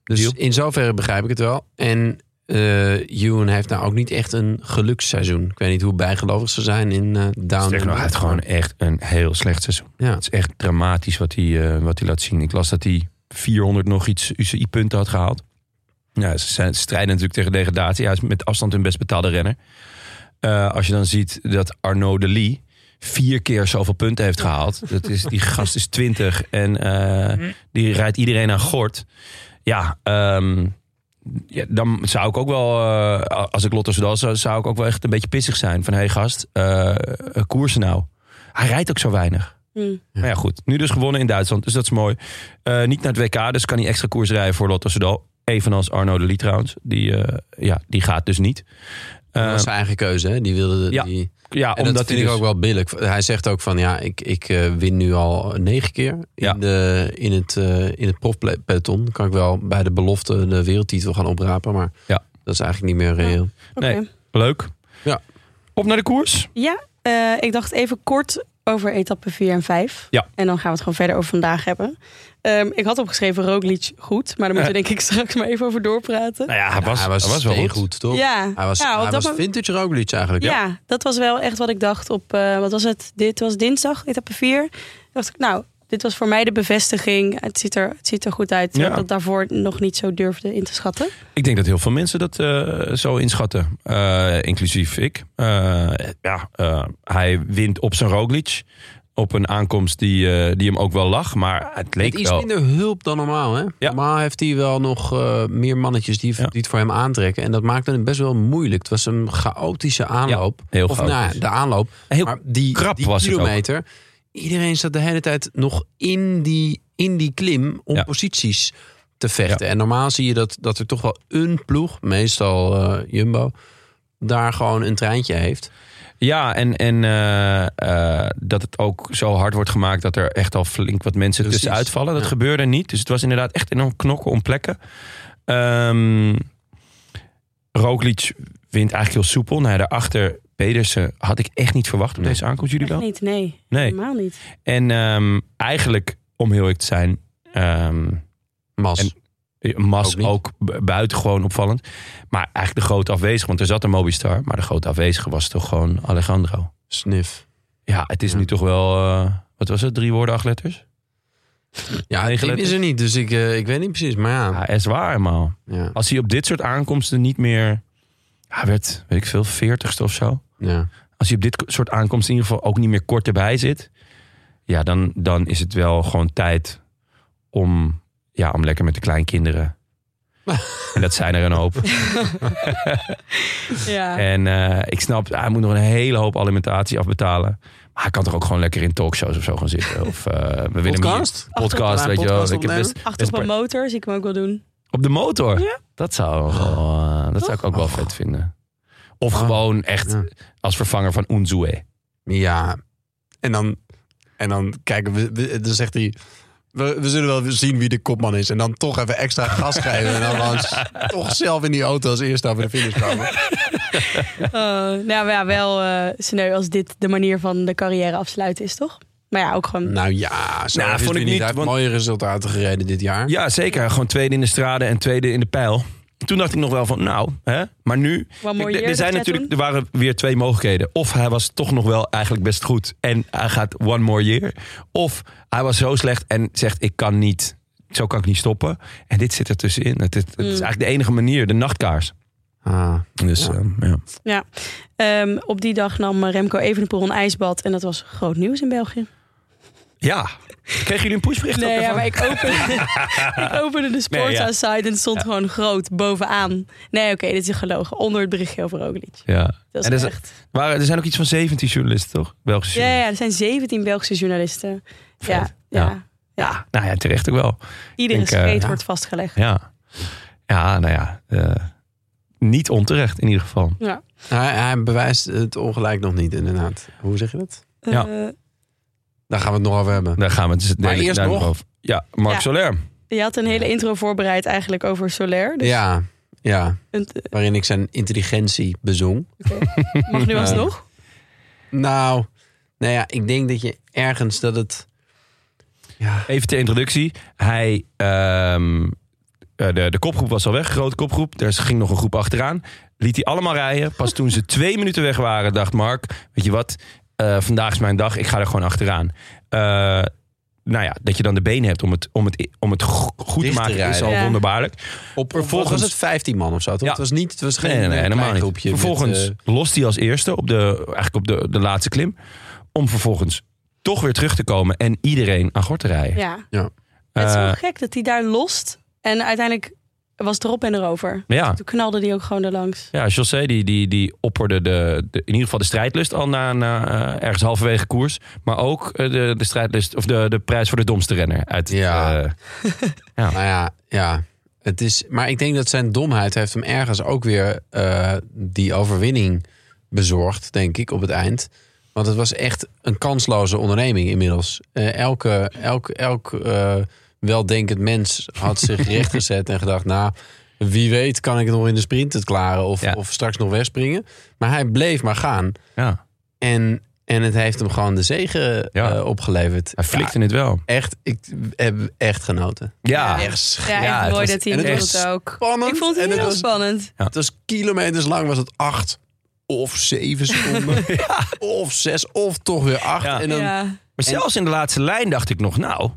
Dus
Deal.
in zoverre begrijp ik het wel. En eh Ewan heeft nou ook niet echt een geluksseizoen. Ik weet niet hoe bijgelovig ze zijn in eh Down.
Sterker nog, hij heeft gewoon echt een heel slecht seizoen.
Ja.
Het is echt dramatisch wat hij, eh, wat hij laat zien. Ik las dat hij 400 nog iets UCI-punten had gehaald. Ja, ze zijn- ze strijden natuurlijk tegen degradatie. Hij is met afstand hun best betaalde renner. Eh, als je dan ziet dat Arnaud de Lee vier keer zoveel punten heeft gehaald. Dat is, die gast is 20 en eh, die rijdt iedereen aan gort. Ja, ehm, ja, dan zou ik ook wel, eh, als ik Lotto Soudal zou, zou ik ook wel echt een beetje pissig zijn. Van, hé hey gast, eh koersen nou. Hij rijdt ook zo weinig.
Hm.
Maar ja, goed. Nu dus gewonnen in Duitsland, dus dat is mooi. Eh, niet naar het WK, dus kan hij extra koers rijden voor Lotto Soudal. Evenals Arno de Lee trouwens. Die, eh, ja, die gaat dus niet. Eh,
dat was zijn eigen keuze. Hè? Die wilde...
Ja.
Die,
ja,
En
omdat
dat
hij
vind ik
dus-
ook wel billig. Hij zegt ook van ja, ik, ik eh, win nu al negen keer in,
Ja.
de, in het, eh in het profpeloton. Dan kan ik wel bij de belofte de wereldtitel gaan oprapen. Maar
Ja.
dat is eigenlijk niet meer reëel.
Oké.
Nee. Leuk.
Ja.
Op naar de koers.
Ja, eh, ik dacht even kort over etappe 4 en 5.
Ja.
En dan gaan we het gewoon verder over vandaag hebben. Ehm, ik had opgeschreven Roglic goed, maar daar moeten we denk ik straks maar even over doorpraten.
Nou ja, hij was,
Nou,
hij was, wel goed.
steengoed, toch?
Ja,
Hij was,
ja, op
hij
dat
was
moment-
vintage Roglic eigenlijk.
ja, dat was wel echt wat ik dacht op, eh, wat was het? Dit was dinsdag, etappe 4. dacht ik, nou, dit was voor mij de bevestiging. Het ziet er, het ziet er goed uit.
Ja.
Dat ik dat daarvoor nog niet zo durfde in te schatten.
Ik denk dat heel veel mensen dat eh, zo inschatten. Eh, inclusief ik. Eh, ja, eh, hij wint op zijn Roglic. Op een aankomst die, eh, die hem ook wel lag. Maar het leek
Met iets
wel...
minder hulp dan normaal. Hè?
Ja.
Normaal heeft hij wel nog eh, meer mannetjes die,
Ja.
die het voor hem aantrekken. En dat maakte het best wel moeilijk. Het was een chaotische aanloop.
heel
of nou ja,
chaotisch.
de aanloop.
Heel
maar die,
krap
die
was het ook.
kilometer. Iedereen zat de hele tijd nog in die, in die klim om
Ja.
posities te vechten. En normaal zie je dat, dat er toch wel een ploeg, meestal eh, Jumbo, daar gewoon een treintje heeft.
Ja, en, en eh, eh, dat het ook zo hard wordt gemaakt dat er echt al flink wat mensen
Precies.
tussenuit vallen. Dat
Ja.
gebeurde niet. Dus het was inderdaad echt enorm knokken om plekken. Ehm Roglic wint eigenlijk heel soepel. Nou, ja, daarachter Pedersen had ik echt niet verwacht op
Nee.
deze aankomst. Jullie
Echt
wel?
niet, nee,
Nee.
helemaal niet.
En ehm, eigenlijk, om heel eerlijk te zijn, ehm,
Mas.
En- Mas
Ook
ook,
niet.
bu- buitengewoon opvallend. Maar eigenlijk de grote afwezige, want er zat een Mobistar. Maar de grote afwezige was toch gewoon Alejandro.
Sniff.
Ja, het is
Ja.
nu toch wel, eh, wat was het, drie woorden, acht letters?
Ja,
Negen
die is
letters.
er niet, dus ik, eh, ik weet niet precies. Maar ja,
Ja, is waar helemaal.
ja,
Als hij op dit soort aankomsten niet meer, hij werd, weet ik veel, veertigste of zo.
ja.
Als hij op dit soort aankomsten in ieder geval ook niet meer kort erbij zit. Ja, dan, dan is het wel gewoon tijd om, ja, om lekker met de kleinkinderen. en dat zijn er een hoop.
Ja.
En eh, ik snap, hij moet nog een hele hoop alimentatie afbetalen. Maar hij kan toch ook gewoon lekker in talkshows of zo gaan zitten. Of eh, we willen hem hier-
Podcast?
podcast,
Ja,
weet je wel.
podcast
Ik heb
opnemen.
best-
Achter op een motor zie ik hem ook wel doen.
op de motor.
Ja.
Dat, zou, wel, eh, dat zou ik ook wel vet vinden. Of gewoon echt
Ah. Ja.
als vervanger van Unzue.
Ja. En dan, en dan kijken we, we- dan zegt hij. We, we zullen wel zien wie de kopman is. En dan toch even extra gas geven. En dan wel eens toch zelf in die auto als eerste over de finish komen.
Eh, nou ja, maar ja, wel eh sneu als dit de manier van de carrière afsluiten is, toch? Maar ja, ook gewoon...
Nou ja, zo
Nou,
nou,
vond ik
vond niet.
niet,
Hij heeft
want-
mooie resultaten gereden dit jaar.
Ja, zeker. Gewoon tweede in de strade en tweede in de pijl. toen dacht ik nog wel van, nou, hè? maar nu.
One more
Kijk, er-
year,
er, zijn
dat
natuurlijk, er
jij
waren weer twee mogelijkheden. Of hij was toch nog wel eigenlijk best goed en hij gaat one more year. Of hij was zo slecht en zegt, ik kan niet, zo kan ik niet stoppen. En dit zit er tussenin. Het, het,
Mm.
het is eigenlijk de enige manier, de nachtkaars.
Ah,
Dus
Ja.
ja. ja.
Ja. Ehm, op die dag nam Remco Evenepoel een ijsbad. En dat was groot nieuws in België.
ja. Kregen jullie een pushbericht? ook
Nee, ja,
daarvan?
maar ik opende, ik opende de
Nee, ja.
Sportza-site en het stond gewoon groot bovenaan. Nee, oké, dit is gelogen. Onder het berichtje over Roglic.
ja.
Dat
En
is
er
echt...
Waren, er zijn ook iets van 17 journalisten, toch? Belgische
Ja,
journalisten.
ja, er zijn 17 Belgische journalisten. Ja,
Vet.
ja.
Ja.
ja.
Nou ja, terecht ook wel.
Iedere
Ik denk, eh,
scheet
ja.
wordt vastgelegd.
Ja, ja nou ja. eh, niet onterecht in ieder geval.
Ja.
hij, hij bewijst het ongelijk nog niet, inderdaad. Hoe zeg je dat?
Ja.
Eh,
Daar gaan we het nog over hebben.
Daar gaan we het dus
Maar
daar-
eerst
daar
nog.
over. Ja, Mark
Ja.
Soler.
je had een hele intro voorbereid eigenlijk over Solaire. Dus
Ja, ja,
het-
waarin ik zijn intelligentie bezong.
mag nu alsnog.
Nou, nou ja, ik denk dat je ergens dat het... Ja,
Even ter introductie. Hij, ehm, eh, de, de kopgroep was al weg, grote kopgroep. Daar ging nog een groep achteraan. Liet hij allemaal rijden. Pas toen ze twee minuten weg waren, dacht Mark... weet je wat, eh, vandaag is mijn dag, ik ga er gewoon achteraan. Eh, nou ja, dat je dan de benen hebt om het, om het, om het go- goed te
Dicht te
maken is
rijden.
al
Ja.
wonderbaarlijk.
op,
Vervolgens-
vervolgens was het 15 man of zo, toch?
Ja.
Het was niet, het was geen
Nee, nee, nee,
eh,
helemaal niet.
klein groepje. met,
vervolgens
eh,
lost hij als eerste op de, eigenlijk op de, de laatste klim. Om vervolgens toch weer terug te komen en iedereen aan gort te rijden.
Ja.
Eh,
het is zo gek dat hij daar lost. En uiteindelijk was het erop en erover.
ja.
Toen knalde die ook gewoon erlangs.
ja, José die, die, die opperde de, de- in ieder geval de strijdlust al na, na eh, ergens halverwege koers. Maar ook eh, de, de strijdlust of de, de prijs voor de domste renner. Uit, het,
Ja.
eh,
Nou ja, ja. Het is, maar ik denk dat zijn domheid heeft hem ergens ook weer eh, die overwinning bezorgd, denk ik, op het eind. Want het was echt een kansloze onderneming inmiddels. Eh, elke, elk elk eh, weldenkend mens had zich rechtgezet en gedacht... nou, wie weet kan ik het nog in de sprint het klaren of,
Ja.
of straks nog wegspringen. Maar hij bleef maar gaan.
ja,
En, en het heeft hem gewoon de zegen
Ja.
eh, opgeleverd.
hij flikte het wel.
Ja, echt, ik heb echt genoten.
Ja,
Echt
Ja,
Ja, het
ik mooi
was-
dat hij
en
het
het
doet
was
ook.
spannend.
Ik vond
En
het
het
heel
was-
spannend.
Ja.
Het was kilometers lang, was het acht of zeven seconden. Of zes, of toch weer acht.
Ja.
En dan, ja,
Ja.
maar zelfs in de laatste lijn dacht ik nog, nou,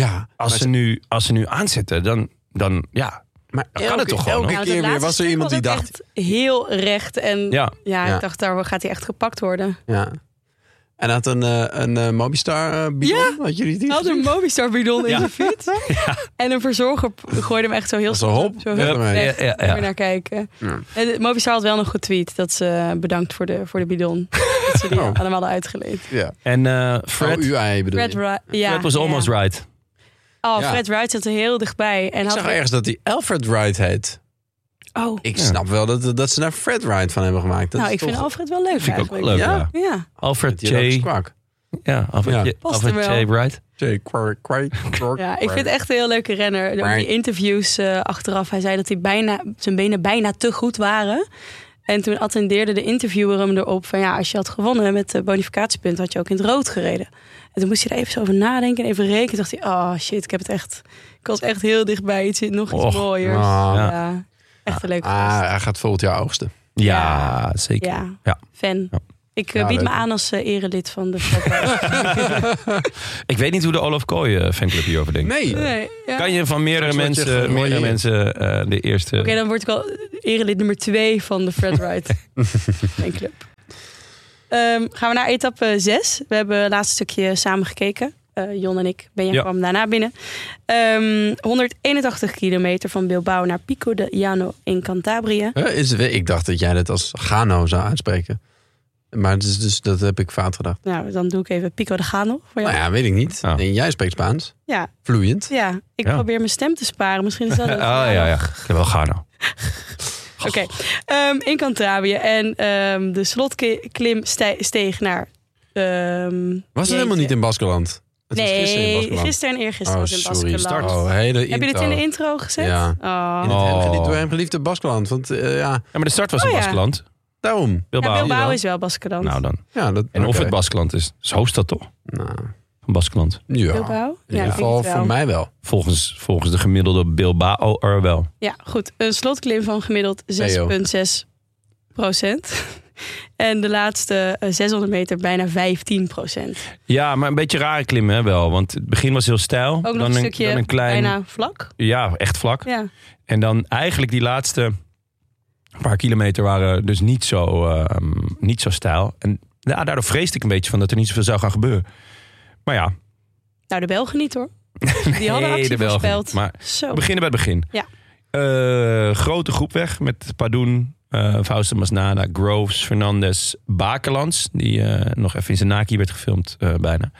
maar,
als ze nu, als ze nu aanzetten, dan, dan ja.
maar
kan
elke,
het toch gewoon,
elke
Nou, dat
keer weer
laatste
was er
stuk
iemand die
was ook
dacht...
echt heel recht. En ja,
ja.
Ja.
ik dacht, daar gaat hij echt gepakt worden.
Ja. En hij had een, eh, een eh, Mobistar eh, bidon.
Ja.
Had jullie die
Hij had
gezien?
een Mobistar bidon in
Ja.
zijn fiets. En een verzorger p- gooide hem echt zo heel
Zo, hop,
Zo
weg
hup,
ermee.
weg.
Ja, ja, ja.
Moet je naar kijken.
Ja.
En de- Mobistar had wel nog getweet dat ze eh, bedankt voor de, voor de bidon. dat ze die
Oh.
aan hem hadden uitgeleend.
Ja.
En eh, Fred,
Fred, oh, UI bedoel
Fred
je.
Wright. Ja,
Fred was
ja.
almost right.
Oh,
Ja.
Fred Wright zat er heel dichtbij. En
Ik
had
zag ergens dat hij Alfred Wright heet.
Oh,
Ik
Ja.
snap wel dat, dat ze daar Fred Wright van hebben gemaakt. Dat
nou,
is
ik vind
toch-
Alfred wel leuk
Vind ik ook wel
eigenlijk.
leuk.
Ja?
ja.
Ja,
Alfred
Die Iraakse
J.
Kwak.
Ja,
Ja.
Alfred, J-
Past
Alfred
er
J.
wel.
Wright.
Jay Kwak, Kwak, Kwak,
ja, ik vind
Kwak.
het echt een heel leuke renner. Ook
Maar-
die interviews eh, achteraf, hij zei dat hij bijna, zijn benen bijna te goed waren. En toen attendeerde de interviewer hem erop van ja, als je had gewonnen met de bonificatiepunt, had je ook in het rood gereden. En toen moest hij er even zo over nadenken en even rekenen. dacht hij, oh shit, ik heb het echt, ik was echt heel dichtbij iets, nog iets
Och,
mooiers.
ah.
ja. echt een leuke
Ah,
gast.
hij gaat volgend jaar oogsten.
Ja, zeker.
Ja,
Ja.
fan.
Ja.
Ik eh,
Ja,
bied me
leuk.
aan als eh, erelid van de podcast.
Ik weet niet hoe de Olaf Kooij fanclub hierover denkt.
Nee.
Nee, ja.
Kan je van meerdere
Soms word je
mensen,
gerooieerd.
meerdere mensen eh, de eerste...
Oké, dan word ik al erelid nummer twee van de Fred Wright Mijn club. Ehm, gaan we naar etappe 6. We hebben het laatste stukje samen gekeken. Eh, Jon en ik. Benja
Ja.
kwam daarna binnen. Ehm, 181 kilometer van Bilbao naar Pico de Llano in Cantabria.
Huh, is, ik dacht dat jij dat als Gano zou uitspreken. Maar het is dus, dat heb ik fout gedacht.
Nou, dan doe ik even Pico de Gano voor jou.
Nou ja, weet ik niet.
Oh.
Nee, jij spreekt Spaans.
Ja,
Vloeiend.
ja. ik
Ja.
probeer mijn stem te sparen. Misschien is dat het.
Oh ja, ja. Ik heb wel Gano.
Oké, Ehm, in Cantabria. En ehm, de slotklim stij- steeg naar... ehm,
Was het helemaal
jeetje.
niet in Baskeland? Het was gisteren in
Nee,
Baskeland.
gisteren en eergisteren was in
oh, sorry.
Baskeland.
Oh, hele
Heb je dit
intro.
in de intro gezet?
Ja.
Oh.
In het
Oh.
hem geliefd- door hem geliefde Baskeland. Want eh, ja,
Ja, maar de start was
Oh,
in
ja.
Baskeland.
daarom.
Ja,
Bilbao.
Bilbao is wel Baskeland.
Nou dan.
Ja, dat,
En of
oké.
het Baskeland is. Is hoofdstad toch?
Nou,
van Baskeland.
Ja,
Bilbao?
in
Ja,
ieder
ik denk
geval
het wel.
voor mij wel.
Volgens, volgens de gemiddelde Bilbao er wel.
Ja, goed. Een slotklim van gemiddeld 6,6 procent. En de laatste eh, 600 meter bijna 15 procent.
Ja, maar een beetje rare klim hè, wel. Want het begin was heel stijl.
Ook nog
dan
een
een,
stukje
dan een klein,
bijna vlak.
Ja, echt vlak.
Ja.
En dan eigenlijk die laatste paar kilometer waren dus niet zo, ehm, niet zo stijl. En ja, daardoor vreesde ik een beetje van dat er niet zoveel zou gaan gebeuren. Maar ja,
Nou, de Belgen niet hoor. Die hadden
nee,
actie
de Belgen
voorspeld.
niet. Maar
Zo.
we beginnen bij het begin.
Ja.
Eh, grote groep weg met Padoen, eh Fausto Masnada, Groves, Fernandes, Bakelands. Die eh, nog even in zijn naki werd gefilmd eh, bijna.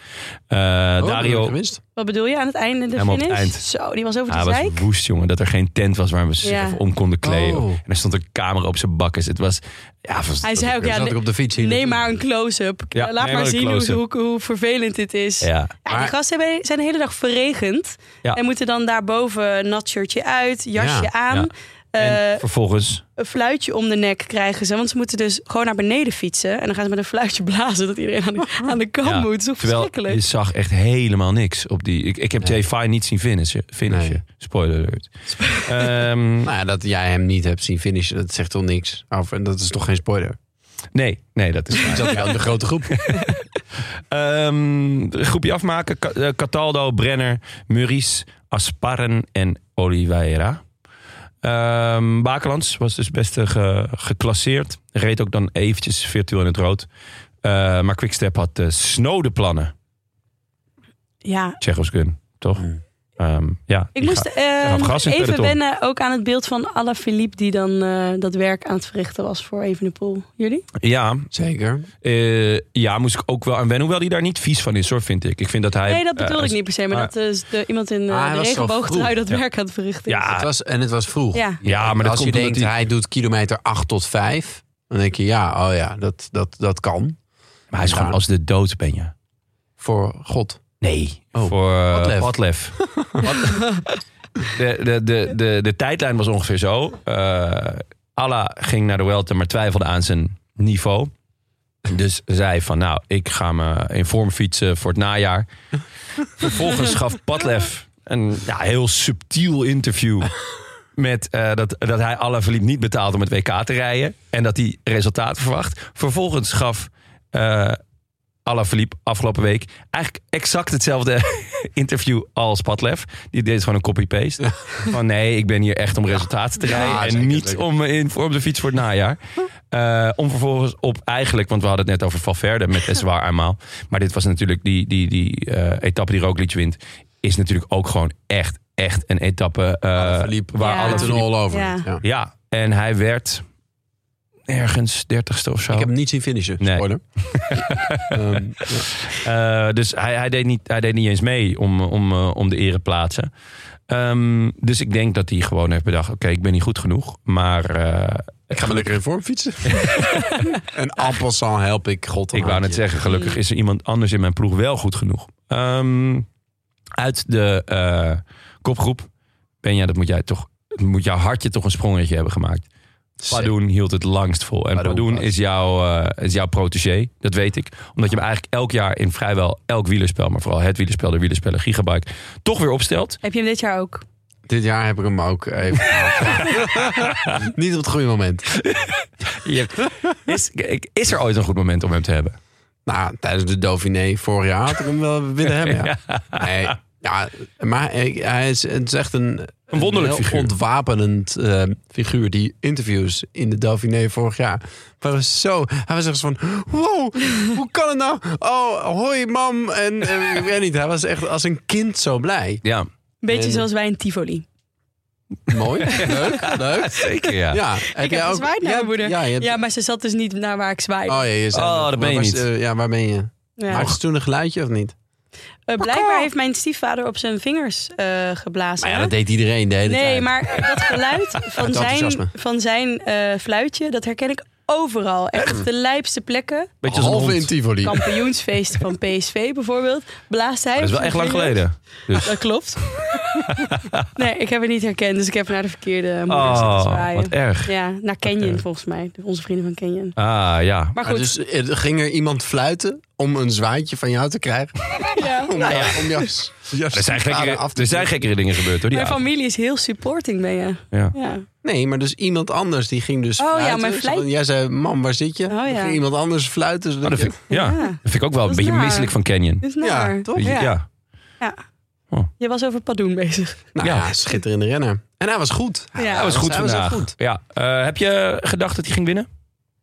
Eh
Oh,
Dario,
Gewinst.
Wat bedoel je aan het einde? De
Helemaal op
finish?
het eind.
Zo, die was over de
Hij was
zijk.
woest, jongen. Dat er geen tent was waar we ze
Ja.
zich even om konden kleden.
Oh.
En er stond een camera op zijn bakkes. Het was... Ja, het was-
Hij zei ook,
Dan
ja,
zat
ne-
ik op de fiets hier.
neem maar een close-up.
Ja,
Eh, Laat
neem
maar
maar een
zien hoe,
close-up.
hoe, hoe vervelend dit is.
Ja.
Ja, die
Maar-
gasten hebben- zijn de hele dag verregend.
Ja.
En moeten dan daarboven een nat shirtje uit, jasje
Ja,
aan.
ja.
eh,
en vervolgens...
een fluitje om de nek krijgen ze. Want ze moeten dus gewoon naar beneden fietsen. En dan gaan ze met een fluitje blazen dat iedereen aan de, aan de kant
ja,
moet. Dat is toch
terwijl
verschrikkelijk.
je zag echt helemaal niks op die... Ik, ik heb
Nee.
nee. Fine niet zien finishen. finishen.
Nee.
Spoiler alert. Ehm,
Nou ja, dat jij hem niet hebt zien finishen, dat zegt toch niks. Of, en dat is toch geen spoiler.
nee, nee, dat is
Je
waar.
zat wel in de grote groep.
Ehm, groepje afmaken. Ka- eh, Cataldo, Brenner, Muris, Asparren en Oliveira. Ehm Bakelands was dus best eh, ge- geclasseerd. Reed ook dan eventjes virtueel in het rood. Eh, maar Quickstep had eh snode plannen.
Ja,
Tsjechos gun, toch?
Hmm.
Ehm, ja,
ik
die
moest
ga-
eh,
gaf gas in het
even
peloton.
wennen ook aan het beeld van Alaphilippe... die dan eh, dat werk aan het verrichten was voor Evenepoel. Jullie?
ja,
Zeker.
eh, ja, moest ik ook wel aan wennen. Hoewel hij daar niet vies van is, hoor, vind ik. Ik vind dat hij...
Nee, dat
eh,
bedoelde
als-
ik niet per se. Maar
ah.
dat is de, iemand in eh,
Ah, hij
de
was zo
regenboogtrui
vroeg.
dat
Ja.
werk aan het verrichten is.
Ja,
Het was, en het was vroeg.
Ja.
ja, maar dat
Ah. Als je
komt omdat
denkt,
hij-
hij... doet kilometer 8 tot 5. Dan denk je, ja, oh ja, dat, dat, dat kan.
Maar hij is gewoon als de dood, ben je.
Voor God.
Nee,
Oh,
voor eh,
Padlef.
Padlef. Pad- de, de, de, de, de tijdlijn was ongeveer zo. Eh Alla ging naar de Welter, maar twijfelde aan zijn niveau. Dus zei van, nou, ik ga me in vorm fietsen voor het najaar. Vervolgens gaf Padlef een ja, heel subtiel interview... met eh, dat, dat hij Alla verliep niet betaald om het WK te rijden... en dat hij resultaten verwacht. Vervolgens gaf... eh Alaphilippe afgelopen week. Eigenlijk exact hetzelfde interview als Padlef. Die deed gewoon een copy-paste. Van nee, ik ben hier echt om resultaten te
Ja,
rijden. en
zeker,
niet
zeker.
om in vorm de fiets voor het najaar. Eh, om vervolgens op eigenlijk, want we hadden het net over Valverde met Eswaar eenmaal. Maar dit was natuurlijk die, die, die eh, etappe die Roglic wint. Is natuurlijk ook gewoon echt, echt een etappe eh,
Alaphilippe,
waar
Ja.
alle...
Alles
Alaphilippe.
een all over.
Ja.
Ja.
Ja, en hij werd ergens dertigste of zo.
Ik heb hem niet zien finishen.
Nee.
Spoiler. Ehm, ja.
Eh, dus hij, hij, deed niet, hij deed niet eens mee om, om, eh, om de ereplaatsen. Ehm dus ik denk dat hij gewoon heeft bedacht: oké, ik ben niet goed genoeg. Maar eh,
Ik ga me lekker in vorm fietsen. en appelsal help ik God. een
ik wou net
handje.
zeggen: gelukkig is er iemand anders in mijn ploeg wel goed genoeg. Ehm, uit de eh, kopgroep, Benja, dat moet jij toch. Moet jouw hartje toch een sprongetje hebben gemaakt? Padoen hield het langst vol. En
Padoen
Padoen
was-
is jouw, eh, is jouw protégé, dat weet ik. Omdat je hem eigenlijk elk jaar in vrijwel elk wielerspel, maar vooral het wielerspel, de wielerspellen, Gigabyte, toch weer opstelt.
Heb je hem dit jaar ook?
Dit jaar heb ik hem ook even gehaald. Niet op het goede moment.
Je- Is, ik- is er ooit een goed moment om hem te hebben?
Nou, tijdens de Dauphiné vorig jaar had ik hem wel willen hebben. Ja. Nee, ja, maar hij- hij is, het is echt een,
Een wonderlijk
heel
figuur.
ontwapenend eh, figuur. Die interviews in de Dauphiné vorig jaar waren zo. Hij was echt zo van: wow, hoe kan het nou? Oh, hoi, mam. En eh, ik weet niet, hij was echt als een kind zo blij.
Ja,
Een beetje
En-
zoals wij in Tivoli.
Mooi, leuk, leuk.
zeker ja.
Ja,
Ik heb gezwaaid naar mijn moeder.
Ja, je hebt-
Ja, maar ze zat dus niet naar waar ik zwaaide.
Oh, ja, je zei-
Oh, dat ben je
waar was-
niet.
eh, ja, waar ben je?
Ja.
Maakte ze toen een geluidje of niet?
Eh, blijkbaar heeft mijn stiefvader op zijn vingers eh, geblazen.
Maar ja, dat deed iedereen de hele
nee,
tijd.
maar dat geluid van
Uit
zijn,
enthousiasme.
van zijn eh, fluitje, dat herken ik overal. Echt op de lijpste plekken.
Beetje als een
Halve in
hond.
Tivoli.
Kampioensfeesten van PSV bijvoorbeeld. Blaast hij.
Dat is wel
op
echt
zijn
lang
vingers.
geleden. Dus.
Dat klopt. nee, ik heb het niet herkend, dus ik heb naar de verkeerde moeder zitten
Oh,
zwaaien.
wat erg.
Ja, naar Canyon
erg.
volgens mij. Onze vrienden van Canyon.
Ah, ja.
Maar
Maar
goed,
dus eh, ging er iemand fluiten om een zwaadje van jou te krijgen?
Ja.
Om,
Nou ja.
jou- om jas, jas
Er zijn,
schade
gekkere,
af te
er zijn
doen.
gekkere dingen gebeurd hoor. Die
Mijn
avond.
familie is heel supporting, ben je.
Ja.
Ja.
Nee, maar dus iemand anders die ging dus
Oh ja,
fluiten.
mijn fluit-
Want Jij zei, mam, waar zit je?
ja.
Dan ging iemand anders fluiten.
Oh,
zodat
dat,
je-
vind ik, ja.
Ja.
dat vind ik ook wel een
Dat is
beetje
naar.
misselijk van Canyon.
Dus
Ja,
naar.
toch?
Weet je,
Ja.
ja.
Je was over Padoen bezig.
Nou
Ja.
ja. schitterende renner. En hij was goed.
Ja, hij
Dat was goed
hij was echt
vandaag.
goed.
Ja. Eh, heb je gedacht dat hij ging winnen?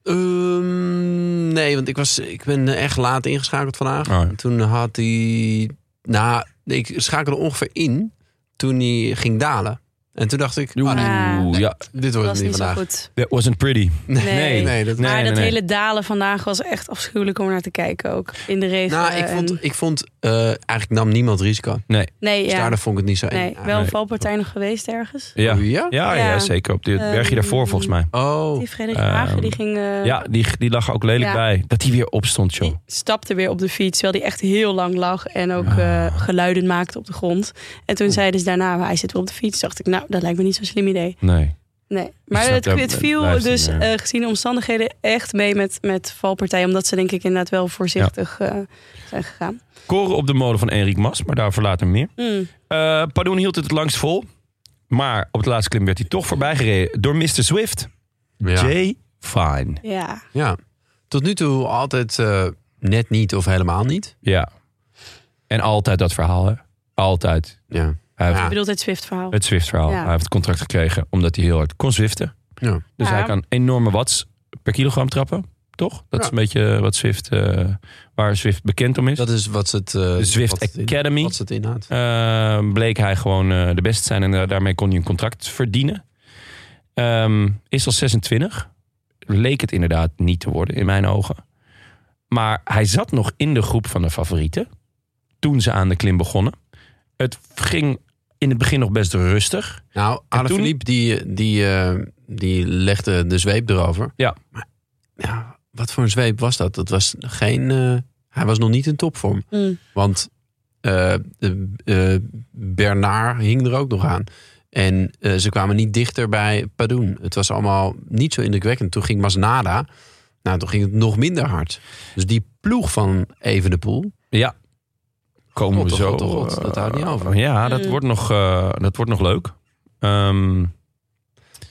Ehm, nee, want ik, was, ik ben eh, echt laat ingeschakeld vandaag.
Oh, ja.
Toen had hij... Nou, ik schakelde ongeveer in toen hij ging dalen. En toen dacht ik, oh, nee,
Ah.
Oeh, ja.
dit
Dat
wordt
was
het niet
niet zo
vandaag.
goed.
That wasn't pretty.
Nee.
Nee.
nee, dat
Maar
Nee,
dat
nee, nee.
hele dalen vandaag was echt afschuwelijk om naar te kijken ook. In de regen.
Nou, ik
en-
vond, ik vond eh, eigenlijk nam niemand risico.
nee,
Dus
ja.
daardoor vond ik het niet zo eng.
nee, wel een valpartij nog geweest ergens.
Ja.
Oh, ja?
Ja, ja,
Ja.
zeker. Op dit
Ehm,
bergje daarvoor volgens mij.
Oh,
Die Frederik
Ehm,
Hagen, die ging... eh,
Ja, die, die lag er ook lelijk
Ja.
bij. Dat hij weer opstond, joh.
Die stapte weer op de fiets, terwijl hij echt heel lang lag en
Ah.
ook eh, geluiden maakte op de grond. En toen zeiden ze daarna, "Ah, hij zit weer op de fiets. Dacht ik, nou, dat lijkt me niet zo'n slim idee.
Nee.
Nee, maar
snap
het,
dat,
het
het
viel
blijft
dus
een, eh,
eh, gezien de omstandigheden echt mee met, met valpartijen. Omdat ze denk ik inderdaad wel voorzichtig eh, zijn gegaan.
Koren op de molen van Enric Mas, maar daarvoor later meer.
Mm.
Eh Padoen hield het het langst vol. Maar op de laatste klim werd hij toch voorbij gereden door Mr. Swift.
ja.
Jay Fine.
Ja,
Ah.
ja. Tot nu toe altijd eh, net niet of helemaal niet.
Ja. En altijd dat verhaal, hè? Altijd.
Ja.
Hij heeft
Ja.
ik bedoel het Zwift-verhaal.
het Zwift-verhaal.
Ja.
Hij heeft het contract gekregen omdat hij heel hard kon zwiften.
Ja.
Dus
Ja.
hij kan enorme watts per kilogram trappen, toch? Dat is
Ja.
een beetje wat Zwift, eh, waar Zwift bekend om is.
Dat is wat ze het... eh,
de Zwift
wat het in-
Academy.
Wat ze het inhoudt.
Eh, bleek hij gewoon eh, de beste te zijn en da- daarmee kon hij een contract verdienen. Ehm, is al 26. Leek het inderdaad niet te worden in mijn ogen. Maar hij zat nog in de groep van de favorieten toen ze aan de klim begonnen. Het ging in het begin nog best rustig.
Nou, Alaphilippe die, die, eh, die legde de zweep erover.
Ja.
Maar ja, wat voor een zweep was dat? Dat was geen... eh, hij was nog niet in topvorm.
Mm.
Want eh, de, eh, Bernard hing er ook nog aan. En eh, ze kwamen niet dichter bij Padoen. Het was allemaal niet zo indrukwekkend. Toen ging Masnada. Nou, toen ging het nog minder hard. Dus die ploeg van Evenepoel.
Ja. Komen
God,
we
oh
zo.
God, oh God, dat houdt niet
eh,
over.
Ja, dat,
Mm.
wordt, nog, eh, dat wordt nog leuk. Ehm,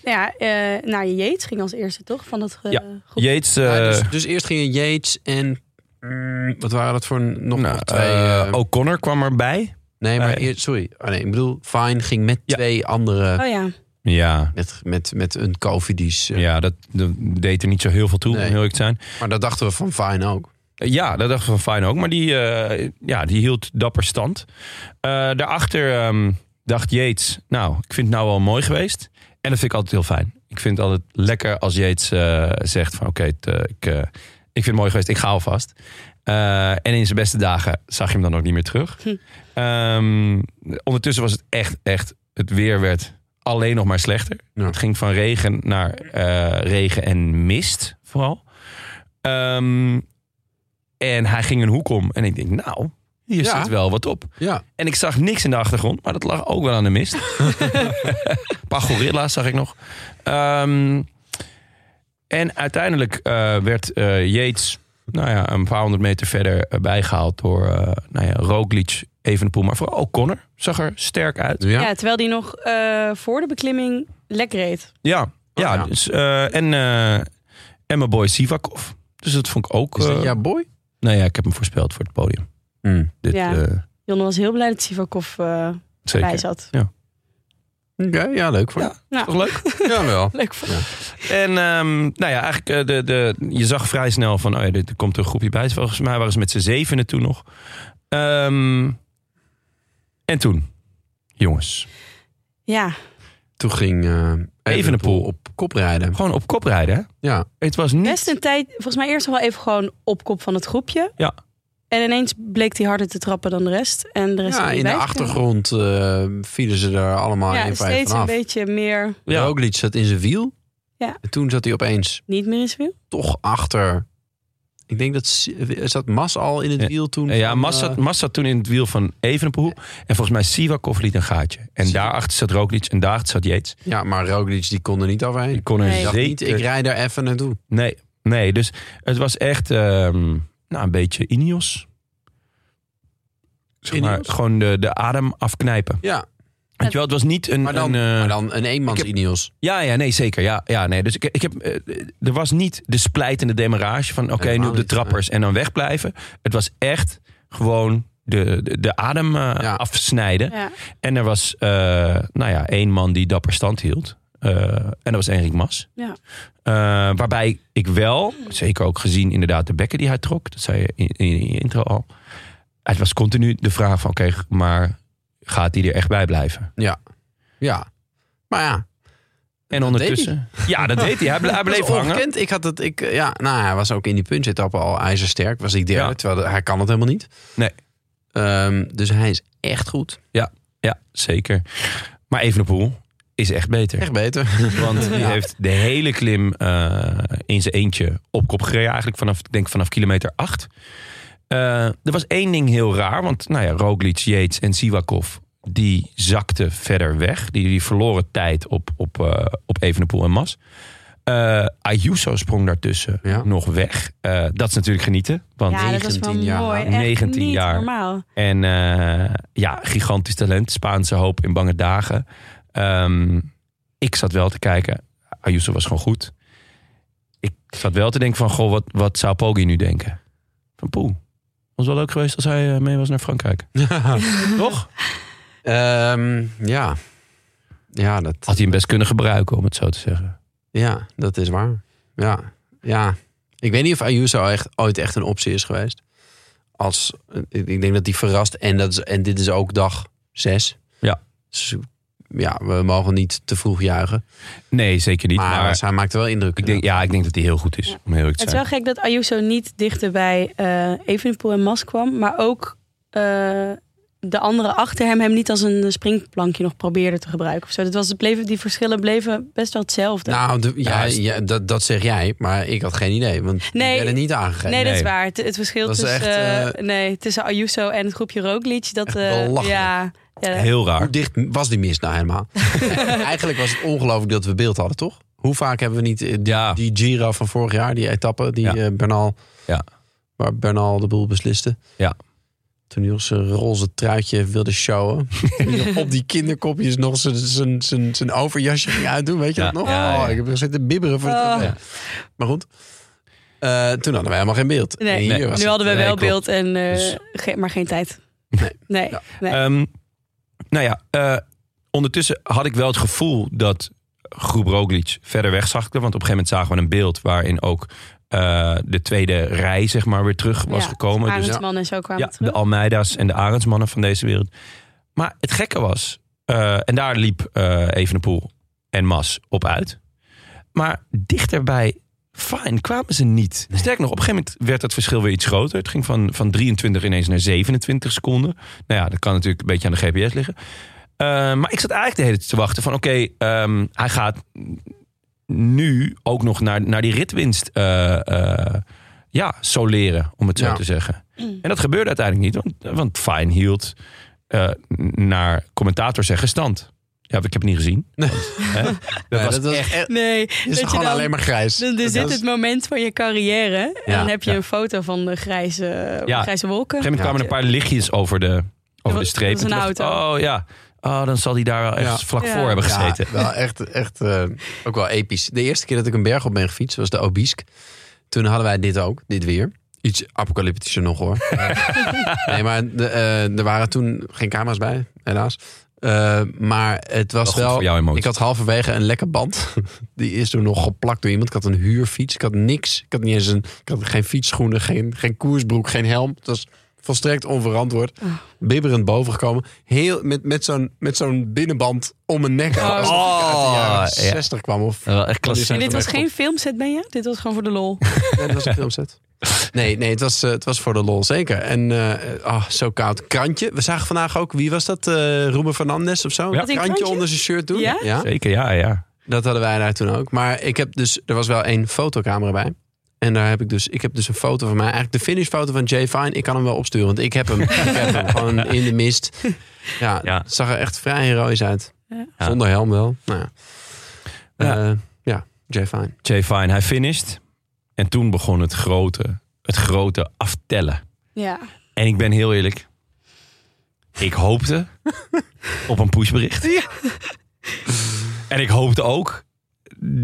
Ja, eh nou, Jeets ging als eerste toch van dat eh
Ja,
groep.
Yates... eh,
Ja, dus, dus eerst gingen Yates en... mm, Wat waren dat voor een- nog,
nou,
nog twee?
eh,
eh,
O'Connor kwam erbij.
Nee, maar
Nee.
eer- sorry. Oh, nee, ik bedoel, Fine ging met
Ja.
twee andere.
Oh ja,
Ja,
Met, met, met een Covidies. eh.
Ja, dat, dat deed er niet zo heel veel toe,
Nee.
om heel eerlijk te zijn.
Maar dat dachten we van Fine ook.
Eh, Ja, dat dachten we van fijn ook. Maar die, eh, ja, die hield dapper stand. Eh, daarachter ehm, dacht Yates, nou, ik vind het nou wel mooi geweest. En dat vind ik altijd heel fijn. Ik vind het altijd lekker als Yates eh, zegt van oké, het, eh, ik, eh, ik vind het mooi geweest, ik ga alvast. Eh, en in zijn beste dagen zag je hem dan ook niet meer terug.
Hm.
Ehm, ondertussen was het echt, echt, het weer werd alleen nog maar slechter.
Ja.
Het ging van regen naar eh, regen en mist vooral. Ehm, en hij ging een hoek om. En ik denk, nou, hier
Ja.
zit wel wat op.
Ja.
En ik zag niks in de achtergrond, maar dat lag ook wel aan de mist. een paar gorilla's zag ik nog. Ehm, en uiteindelijk eh, werd eh Yates nou ja, een paar honderd meter verder eh, bijgehaald door eh nou ja, Roglic, Evenepoel. Maar vooral O'Connor zag er sterk uit.
Ja.
ja. terwijl die nog eh, voor de beklimming lek reed.
Ja, ja,
ja.
Dus, eh, en, eh, en mijn boy Sivakov. Dus dat vond ik ook...
Is
eh,
dat jouw boy?
Nou ja, ik heb hem voorspeld voor het podium. Dit,
Ja.
eh,
Jonne was heel blij dat Sivakov eh
zeker.
bij zat. Hm.
Oké, ja, leuk voor.
Ja.
Nou,
Toch leuk?
Jawel.
leuk voor
En ehm, nou ja, eigenlijk, eh, de, de, je zag vrij snel van, oh ja, dit- er komt een groepje bij. Volgens mij waren ze met z'n zevenen toen nog. Ehm, en toen, jongens,
Ja,
Toen ging eh Evenepoel
Evenepoel.
op kop rijden.
gewoon op kop rijden. Hè?
Ja.
Het was niet...
best een tijd. Volgens mij eerst nog wel even gewoon op kop van het groepje.
Ja.
En ineens bleek hij harder te trappen dan de rest. En de rest
ja,
had
in de
bijgekomen.
achtergrond eh, vielen ze er allemaal
Ja,
één voor één
steeds een
vanaf.
beetje meer.
Ja.
Roglic zat in zijn wiel.
Ja.
En toen zat hij opeens
Niet meer in wiel.
toch achter. Ik denk dat S- zat Mas al in het
Ja.
wiel toen.
Ja,
van,
Mas
eh,
zat, Mas zat toen in het wiel van Evenepoel. En volgens mij Sivakov liet een gaatje. En
Sivakov.
daarachter zat Roglic en daarachter zat Yates.
ja, maar Roglic die kon er niet overheen.
Ik kon er
Nee.
Ik dacht niet,
zeker...
ik rij daar even naartoe.
Nee, nee, dus het was echt ehm, nou, een beetje Ineos. zeg maar,
Ineos?
gewoon de, de adem afknijpen.
Ja,
Weet je wel, het was niet een...
maar dan
een, eh,
maar dan een eenmans
ik heb-
Ineos.
Ja, ja, nee, zeker. Ja, ja, nee. Dus ik, ik heb, eh, er was niet de splijtende demarage van oké, nu
Helemaal
op de
niet,
trappers en dan wegblijven. Het was echt gewoon de, de, de adem eh,
Ja.
afsnijden.
Ja.
En er was, eh, nou ja, één man die dapper stand hield. Eh, en dat was Enrik Mas.
Ja.
Eh, waarbij ik wel, zeker ook gezien inderdaad de bekken die hij trok. Dat zei je in, in je intro al. Het was continu de vraag van oké, maar gaat hij er echt bij blijven?
Ja. Maar ja,
En
Dat deed
ondertussen. ja, dat deed hij. Hij, ble- hij
Dat
bleef
is
hangen.
ongekend. Ik had het, ik, eh, ja, nou, hij was ook in die punch-etappe al ijzersterk. Was ik derde,
Ja.
terwijl de- hij kan het helemaal niet.
Nee.
Ehm, dus hij is echt goed.
Ja, zeker. Maar Evenepoel is echt beter.
Echt beter.
Want die
Ja.
heeft de hele klim eh, in zijn eentje op kop gereden. Eigenlijk vanaf, ik denk vanaf kilometer 8. er was één ding heel raar. Want nou ja, Roglic, Yates en Sivakov... die zakten verder weg. Die, die verloren tijd op, op, eh, op Evenepoel en Mas. Eh Ayuso sprong daartussen
Ja.
nog weg. Eh, dat is natuurlijk genieten. Want
Ja, dat was wel
19 jaar.
mooi. Echt
19
niet
jaar.
normaal.
En eh, ja, gigantisch talent. Spaanse hoop in bange dagen. Ehm, ik zat wel te kijken. Ayuso was gewoon goed. Ik zat wel te denken van, goh, wat, wat zou Poggi nu denken? Van poeh, was wel leuk geweest als hij eh, mee was naar Frankrijk. Toch?
Ehm, ja. Ja dat,
Had hij hem best kunnen gebruiken, om het zo te zeggen.
ja, dat is waar. Ja. ja. Ik weet niet of Ayuso echt, ooit echt een optie is geweest. Als, ik ik denk dat die verrast. En, dat is, en dit is ook dag zes.
Ja.
Dus, ja, we mogen niet te vroeg juichen.
Nee, zeker niet. Maar,
maar hij maakt wel indruk.
ik denk, ja, ik denk dat hij heel goed is,
Ja.
om heel eerlijk
Het
te
is wel
zijn.
gek dat Ayuso niet dichter bij eh Evenepoel en Mas kwam. Maar ook eh, de anderen achter hem hem niet als een springplankje nog probeerden te gebruiken. Of zo. Dat was, het bleven, die verschillen bleven best wel hetzelfde.
Nou, de- ja,
Ja, is-
ja, dat, dat zeg jij, maar ik had geen idee. Want ik
Nee.
ben het niet aangegeven.
nee, dat is
nee.
waar. Het, het verschil
Dat is
tussen,
echt,
eh, nee, tussen Ayuso en het groepje Roglic. Dat,
Echt
eh,
belachelijk.
ja, ja,
Heel
Hoe
raar.
dicht was die mis nou helemaal? Eigenlijk was het ongelooflijk dat we beeld hadden, toch? Hoe vaak hebben we niet eh, die,
Ja.
die Giro van vorig jaar, die etappe, die
Ja.
eh, Bernal,
Ja.
waar Bernal de boel besliste.
Ja.
Toen hij nog zijn roze truitje wilde showen. Toen hij nog op die kinderkopjes nog zijn- zijn- zijn zijn overjasje ging uitdoen. Weet je
Ja,
dat nog?
ja, ja.
Oh, ik heb gezeten bibberen voor
Oh.
het tv. Maar goed. Eh, toen hadden wij helemaal geen beeld. En
Nee,
hier
nee.
was
nu
het.
hadden we
Nee,
wel
klopt.
beeld, en, eh,
Dus-
ge- maar geen tijd.
Nee.
Nee.
Ja.
nee.
Ehm, nou ja, eh, ondertussen had ik wel het gevoel dat groep Roglic verder weg zag. Want op een gegeven moment zagen we een beeld waarin ook eh, de tweede rij zeg maar weer terug was
Ja,
gekomen. Dus
Arendsman en zo kwamen
ja,
terug.
de Almeida's en de Arendsmannen van deze wereld. Maar het gekke was, eh, en daar liep eh Evenepoel en Mas op uit. Maar dichterbij fijn kwamen ze niet. Sterker nog, op een gegeven moment werd dat verschil weer iets groter. Het ging van, van 23 ineens naar 27 seconden. Nou ja, dat kan natuurlijk een beetje aan de GPS liggen. Eh, maar ik zat eigenlijk de hele tijd te wachten van... oké, ehm, hij gaat nu ook nog naar, naar die ritwinst eh, eh, ja, soleren, om het zo
Ja.
te zeggen. En dat gebeurde uiteindelijk niet, want, want Fine hield eh, naar commentator zeggen stand. Ja, ik heb het niet gezien. want, hè, dat
Nee,
was
dat was
echt...
echt-
nee,
Het is
dat je
gewoon
dan-
alleen maar grijs.
Dan dan
Dat
zit
was-
het moment van je carrière. En
Ja,
dan heb je
ja.
een foto van de grijze,
Ja.
grijze wolken.
Op een gegeven moment kwamen er een paar lichtjes over de, over de
was-
streep.
dat was een
En toen dacht ik,
auto.
Oh ja, oh, dan zal hij daar wel echt
Ja.
vlak
Ja.
voor hebben gezeten.
Ja, wel echt, echt eh, ook wel episch. De eerste keer dat ik een berg op ben gefietst was de Obisk. Toen hadden wij dit ook, dit weer. Iets apocalyptischer nog hoor. nee, maar de, eh, er waren toen geen camera's bij, helaas. Eh, maar het was
Wel goed
wel...
voor jouw emotie.
ik had halverwege een lekker band. Die is toen nog geplakt door iemand. Ik had een huurfiets. Ik had niks. Ik had, niet eens een, ik had geen fietsschoenen, geen, geen koersbroek, geen helm. Het was volstrekt onverantwoord. Bibberend bovengekomen. Heel, met met zo'n met zo'n binnenband om mijn nek.
Oh.
Als ik uit de jaren
Oh, ja.
60 kwam. Of,
Wel echt klassiek.
En dit
Even
was
weg,
geen filmset, ben je? Dit was gewoon voor de lol.
nee, dat was een filmset. Nee, nee het, was, eh, het was voor de lol, zeker. En eh, ah, zo koud. Krantje. We zagen vandaag ook, wie was dat? eh Ruben Fernandes of zo?
Ja.
Een
Had hij een
krantje
krantje?
onder zijn shirt doen.
Ja?
Zeker, ja, ja.
Dat hadden wij daar toen ook. Maar ik heb dus, er was wel één fotocamera bij. En daar heb ik dus, ik heb dus een foto van mij. Eigenlijk de finishfoto van Jay Fine. Ik kan hem wel opsturen, want ik heb hem, ik heb hem gewoon in de mist. Ja,
Ja.
het zag er echt vrij heroïs uit.
Ja.
Zonder helm wel. Nou, ja.
Ja.
Eh, ja, Jay Fine.
Jay Fine, hij finished. En toen begon het grote, het grote aftellen.
Ja.
En ik ben heel eerlijk. Ik hoopte op een pushbericht. En ik hoopte ook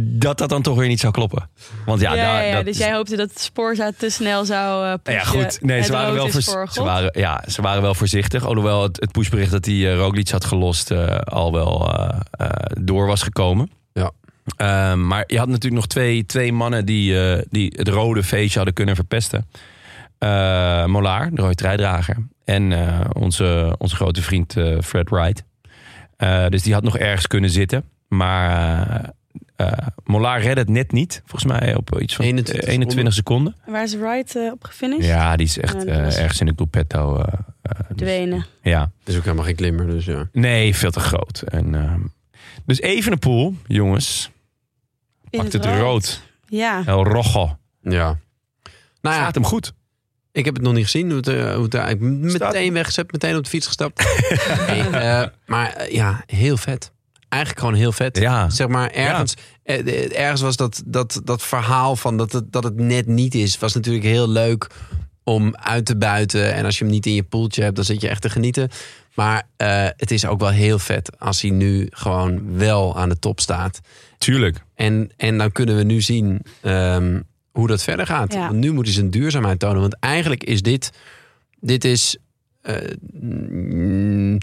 dat dat dan toch weer niet zou kloppen. Want ja,
Ja, ja,
daar,
ja,
dat
dus
is-
jij hoopte dat Sporza te snel zou eh
Nou ja,
pushen.
goed. Nee,
Het
ze waren,
rood
wel
is
voorz-
voor
ze,
God.
waren, ja, ze waren wel voorzichtig. Alhoewel het, het pushbericht dat hij eh Roglic had gelost eh, al wel eh, eh, door was gekomen.
Ja.
Ehm, maar je had natuurlijk nog twee, twee mannen die, eh, die het rode feestje hadden kunnen verpesten. Eh, Molaar, de rode rijdrager. En eh, onze, onze grote vriend eh, Fred Wright. Eh, dus die had nog ergens kunnen zitten. Maar eh, eh, Molaar redde het net niet. Volgens mij op iets van
21
eh, 21 seconden.
Waar is Wright eh, op gefinished?
Ja, die is
Ja,
echt
die
eh,
was-
ergens in de gruppetto. eh, eh, dus-
De wenen.
ja,
Is ook helemaal geen klimmer, dus ja.
nee, veel te groot. En, ehm, dus even een poel, jongens. Pakt het rood.
Ja.
El Rojo.
Ja. Nou ja,
Gaat hem goed. ik
ik heb het nog niet gezien. Hoe het, eh, hoe het, daar- ik ben
Staat-
meteen weggezet, meteen op de fiets gestapt. Hey, eh, maar eh, ja, heel vet. Eigenlijk gewoon heel vet.
Ja.
Zeg maar, ergens, eh, eh, ergens was dat, dat, dat verhaal van dat het, dat het net niet is, was natuurlijk heel leuk om uit te buiten. En als je hem niet in je poeltje hebt, dan zit je echt te genieten. Maar eh, het is ook wel heel vet als hij nu gewoon wel aan de top staat.
Tuurlijk.
En, en dan kunnen we nu zien ehm, hoe dat verder gaat.
Ja.
Want nu moeten ze een duurzaamheid tonen. Want eigenlijk is dit... Dit is... eh, mm,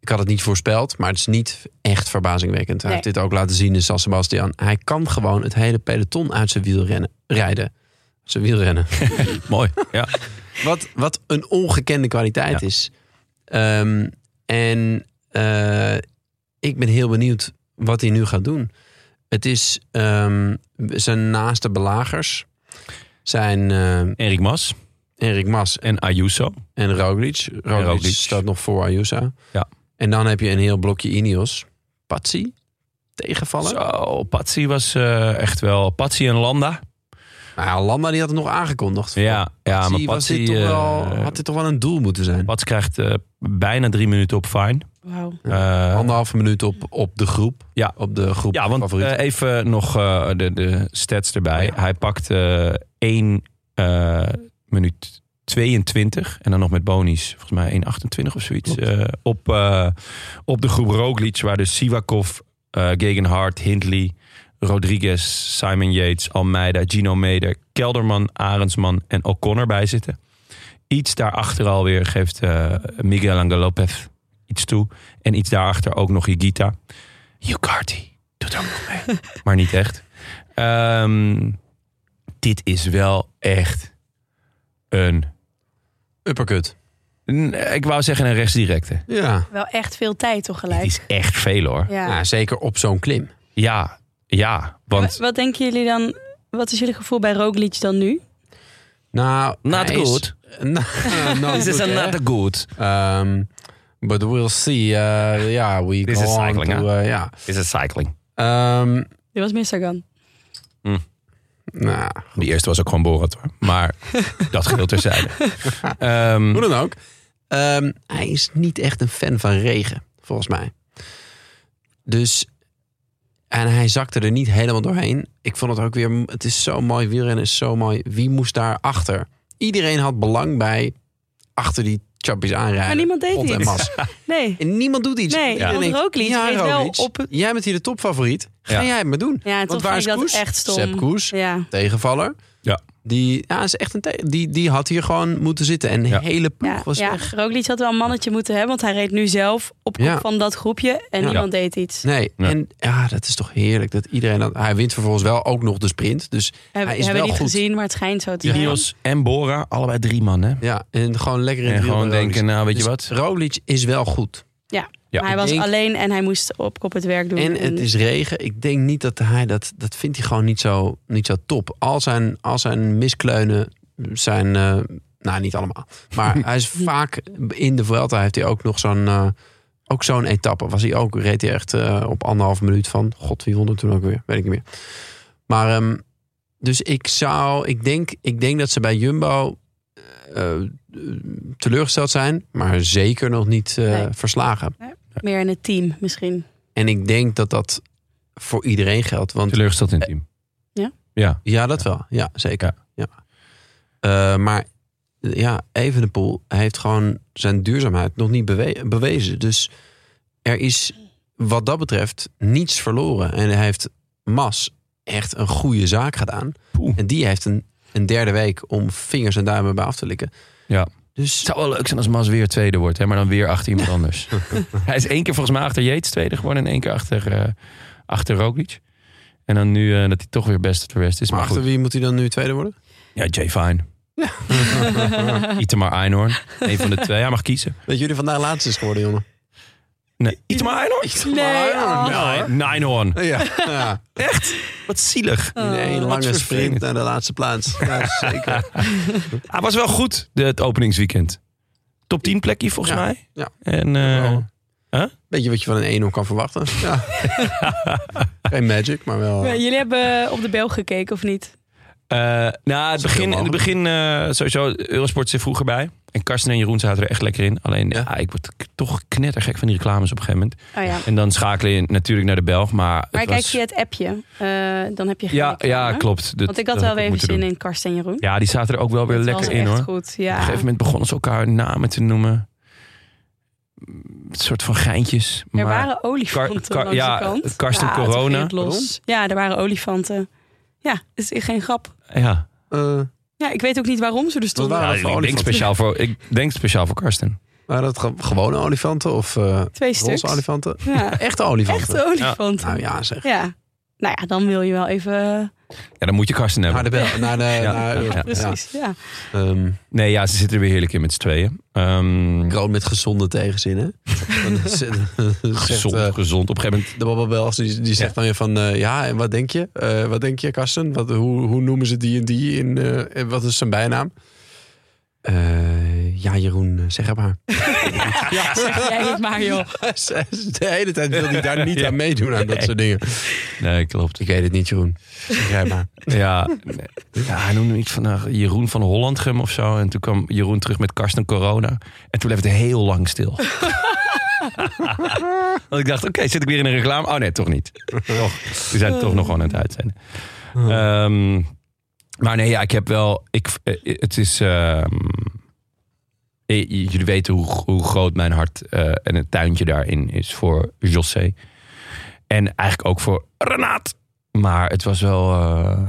ik had het niet voorspeld, maar het is niet echt verbazingwekkend. Hij
Nee.
heeft dit ook laten zien in San Sebastian. Hij kan gewoon het hele peloton uit zijn wiel rennen, rijden. Zijn wielrennen.
Mooi. Ja.
Wat, wat een ongekende kwaliteit
Ja.
is. Ehm, en eh, ik ben heel benieuwd wat hij nu gaat doen. Het is ehm, zijn naaste belagers zijn ehm
Erik Mas
Erik Mas
en Ayuso.
en Roglic. Roglic,
Roglic.
staat nog voor Ayuso.
Ja.
En dan heb je een heel blokje Ineos. Patsy tegenvallen.
Zo, Patsy was eh, echt wel... Patsy en Landa.
Nou ja, Landa die had het nog aangekondigd.
Ja, ja maar
Patsy was
Patsy...
dit toch
eh,
wel, had dit toch wel een doel moeten zijn.
Patsy krijgt eh, bijna drie minuten op fine.
Wauw.
Eh,
Anderhalve minuut op, op de groep.
Ja.
Op de groep
Ja, want
favorieten.
eh, even nog eh, de, de stats erbij. Hij pakt eh 1 eh, minuut 22 en dan nog met bonies, volgens mij 1,28 of zoiets. eh, op, eh, op de groep Roglic, waar dus Sivakov, eh Gegenhardt, Hindley, Rodriguez, Simon Yates, Almeida, Gino Meder, Kelderman, Arendsman en O'Connor bij zitten. Iets daarachter alweer geeft eh, Miguel Angel Lopez iets toe. En iets daarachter ook nog Higita. Yucardi doet ook nog mee. maar niet echt. Ehm, dit is wel echt een...
Uppercut.
een- Ik wou zeggen een rechtsdirecte.
Ja.
Wel echt veel tijd toch
Dit
gelijk.
is echt veel hoor.
Ja.
Nou, zeker op zo'n klim.
Ja, ja. Want
Wat, wat denken jullie dan? Wat is jullie gevoel bij Roglic dan nu?
Nou,
Not
hij is-
good.
Nou, not
this is
good, hè?
another good.
Ehm, but we'll see. eh, yeah, we
This
go
is
on
cycling,
to, eh, ja.
This is cycling.
Ehm,
Dit was Mistergan.
nou,
Die eerste was ook gewoon Borat hoor. Maar dat geheel terzijde. Ehm,
hoe dan ook. Ehm, hij is niet echt een fan van regen, volgens mij. Dus, en hij zakte er niet helemaal doorheen. Ik vond het ook weer, het is zo mooi, wielrennen is zo mooi. Wie moest daar achter? Iedereen had belang bij achter die chappies aanrijden.
Maar niemand deed
Pont en
iets.
Mas.
Nee.
En niemand doet iets.
Nee,
Iedereen
want
denkt,
Roglic reed wel op-
Jij bent hier de topfavoriet. Ga
Ja.
jij het maar doen.
Ja, en
Want
toch
waar
vind
is
ik dat
Koes?
echt stom.
Sepp Koes.
Ja.
Tegenvaller.
Ja.
Die, ja, is echt een te- die, die had hier gewoon moeten zitten. En de
Ja.
hele ploeg
Ja,
was
ja.
weg.
Roglic had wel een mannetje moeten hebben, want hij reed nu zelf op kop
Ja.
van dat groepje en
Ja.
niemand deed iets.
Nee,
Ja.
en ja, dat is toch heerlijk dat iedereen dat. Hij wint vervolgens wel ook nog de sprint. Dus
Heb,
hij is
hebben
wel
we niet
goed.
gezien, maar het schijnt zo te zijn.
Ineos en Bora, allebei drie man hè.
ja, en gewoon lekker in
En
het wiel
gewoon
bij
denken,
Roglic.
nou weet je
Dus
wat.
Roglic is wel goed.
Ja,
maar hij
ik
was
denk-
alleen en hij moest op kop het werk doen.
En het is regen. Ik denk niet dat hij dat. Dat vindt hij gewoon niet zo, niet zo top. Al zijn, al zijn miskleunen zijn. eh, nou, niet allemaal. Maar hij is vaak. In de Vuelta heeft hij ook nog zo'n. eh, ook zo'n etappe. Was hij ook. Reed hij echt eh, op anderhalf minuut van. God, wie won er toen ook weer? Weet ik niet meer. Maar. ehm, dus ik zou. Ik denk, ik denk dat ze bij Jumbo. eh, eh, teleurgesteld zijn, maar zeker nog niet eh,
Nee.
verslagen.
Meer in het team misschien.
En ik denk dat dat voor iedereen geldt. Want
Teleurgesteld in het team.
Ja?
Ja.
ja, dat wel. Ja, zeker. Ja. Eh, maar ja, Evenepoel heeft gewoon zijn duurzaamheid nog niet bewe- bewezen. Dus er is wat dat betreft niets verloren. En hij heeft Mas echt een goede zaak gedaan.
Poeh.
En die heeft een, een derde week om vingers en duimen bij af te likken.
Ja.
Dus
Het zou wel leuk zijn als Mas weer tweede wordt, hè, maar dan weer achter iemand anders. Hij is één keer volgens mij achter Yates tweede geworden en één keer achter, eh, achter Roglic. En dan nu eh, dat hij toch weer best voor best is.
maar
Maar,
achter
goed,
wie moet hij dan nu tweede worden?
ja, Jay Fine. Itemar Einhorn. Een van de twee. Hij mag kiezen.
Dat jullie vandaag laatst is geworden, jongen.
Nee. Itemar Einhorn?
Nee, oh.
Nee, Nijnhoorn.
Ja, ja.
Wat zielig.
In één
Wat
lange sprint
vervelend.
Eh, naar de laatste plaats. Ja, eh, zeker.
Hij was wel goed, de- het openingsweekend. Top 10 plekje volgens
Ja,
mij.
ja.
En, eh,
Wel. Beetje wat je van een eenhoorn kan verwachten. Ja. Geen magic, maar wel...
Maar Jullie hebben op de bel gekeken of niet?
Eh nou, het
Zoveel
begin, het
mogelijk.
begin eh, sowieso, Eurosport zit vroeger bij. En Karsten en Jeroen zaten er echt lekker in. Alleen,
Ja.
ja. ik word k- toch knettergek van die reclames op een gegeven moment.
Oh ja.
En dan schakel je natuurlijk naar de Belg, maar...
Maar
het
kijk
was-
je het appje, eh, dan heb je geen
ja,
reclame.
ja, klopt. Dat-
Want ik
dat
had wel
ook
weer even
moeten
zin
doen.
in Karsten en Jeroen.
Ja, die zaten er ook wel weer
Dat
lekker
was
in,
echt
hoor.
goed,
Op een
ja.
gegeven moment begonnen ze elkaar namen te noemen. Mm, Een soort van geintjes.
Er
maar...
waren olifanten
Kar- kar-
langs
ja,
de kant.
Karsten
ja, toen
Corona.
ging het Los. Ja, er waren olifanten. Ja, is geen grap.
Ja,
Eh,
Ja, ik weet ook niet waarom ze er stonden.
waren
Nou,
dat voor
ik, denk
olifanten?
speciaal voor, ik denk speciaal voor Karsten.
waren dat ge- gewone olifanten of eh
Twee
roze
stuks.
olifanten?
Ja,
Echte olifanten.
echte olifanten.
Nou ja, zeg.
Ja. Nou ja, dan wil je wel even...
Ja, dan moet je Karsten hebben.
Naar de bel. Naar de,
Ja,
naar,
ja, ja.
Precies, ja.
Ehm,
Nee, ja, ze zitten er weer heerlijk in met z'n tweeën. Ehm,
kroon met gezonde tegenzin, hè? Dan zegt,
gezond,
eh,
gezond. Op een gegeven moment...
de babbelbels, die, die zegt dan weer van... eh, ja, en wat denk je? Eh, wat denk je, Karsten? Wat, hoe, hoe noemen ze die en die? In, eh, en wat is zijn bijnaam? Eh, ja, Jeroen, eh, zeg het maar. ja,
Zeg jij het maar, joh.
De hele tijd wil hij daar niet aan meedoen aan dat soort dingen.
Nee, klopt.
Ik weet het niet, Jeroen. Zeg jij maar.
Ja, nee. ja hij noemde me iets van eh, Jeroen van Hollandgem of zo. En toen kwam Jeroen terug met Karsten Corona. En toen bleef het heel lang stil. Want ik dacht, oké, zit ik weer in een reclame? Oh nee, toch niet. Toch. We zijn toch nog gewoon aan het uitzenden. Ehm, maar nee, ja, ik heb wel... Ik, eh, het is... ehm, eh, j- jullie weten hoe, hoe groot mijn hart eh, en het tuintje daarin is voor José. En eigenlijk ook voor Renaat. Maar het was wel eh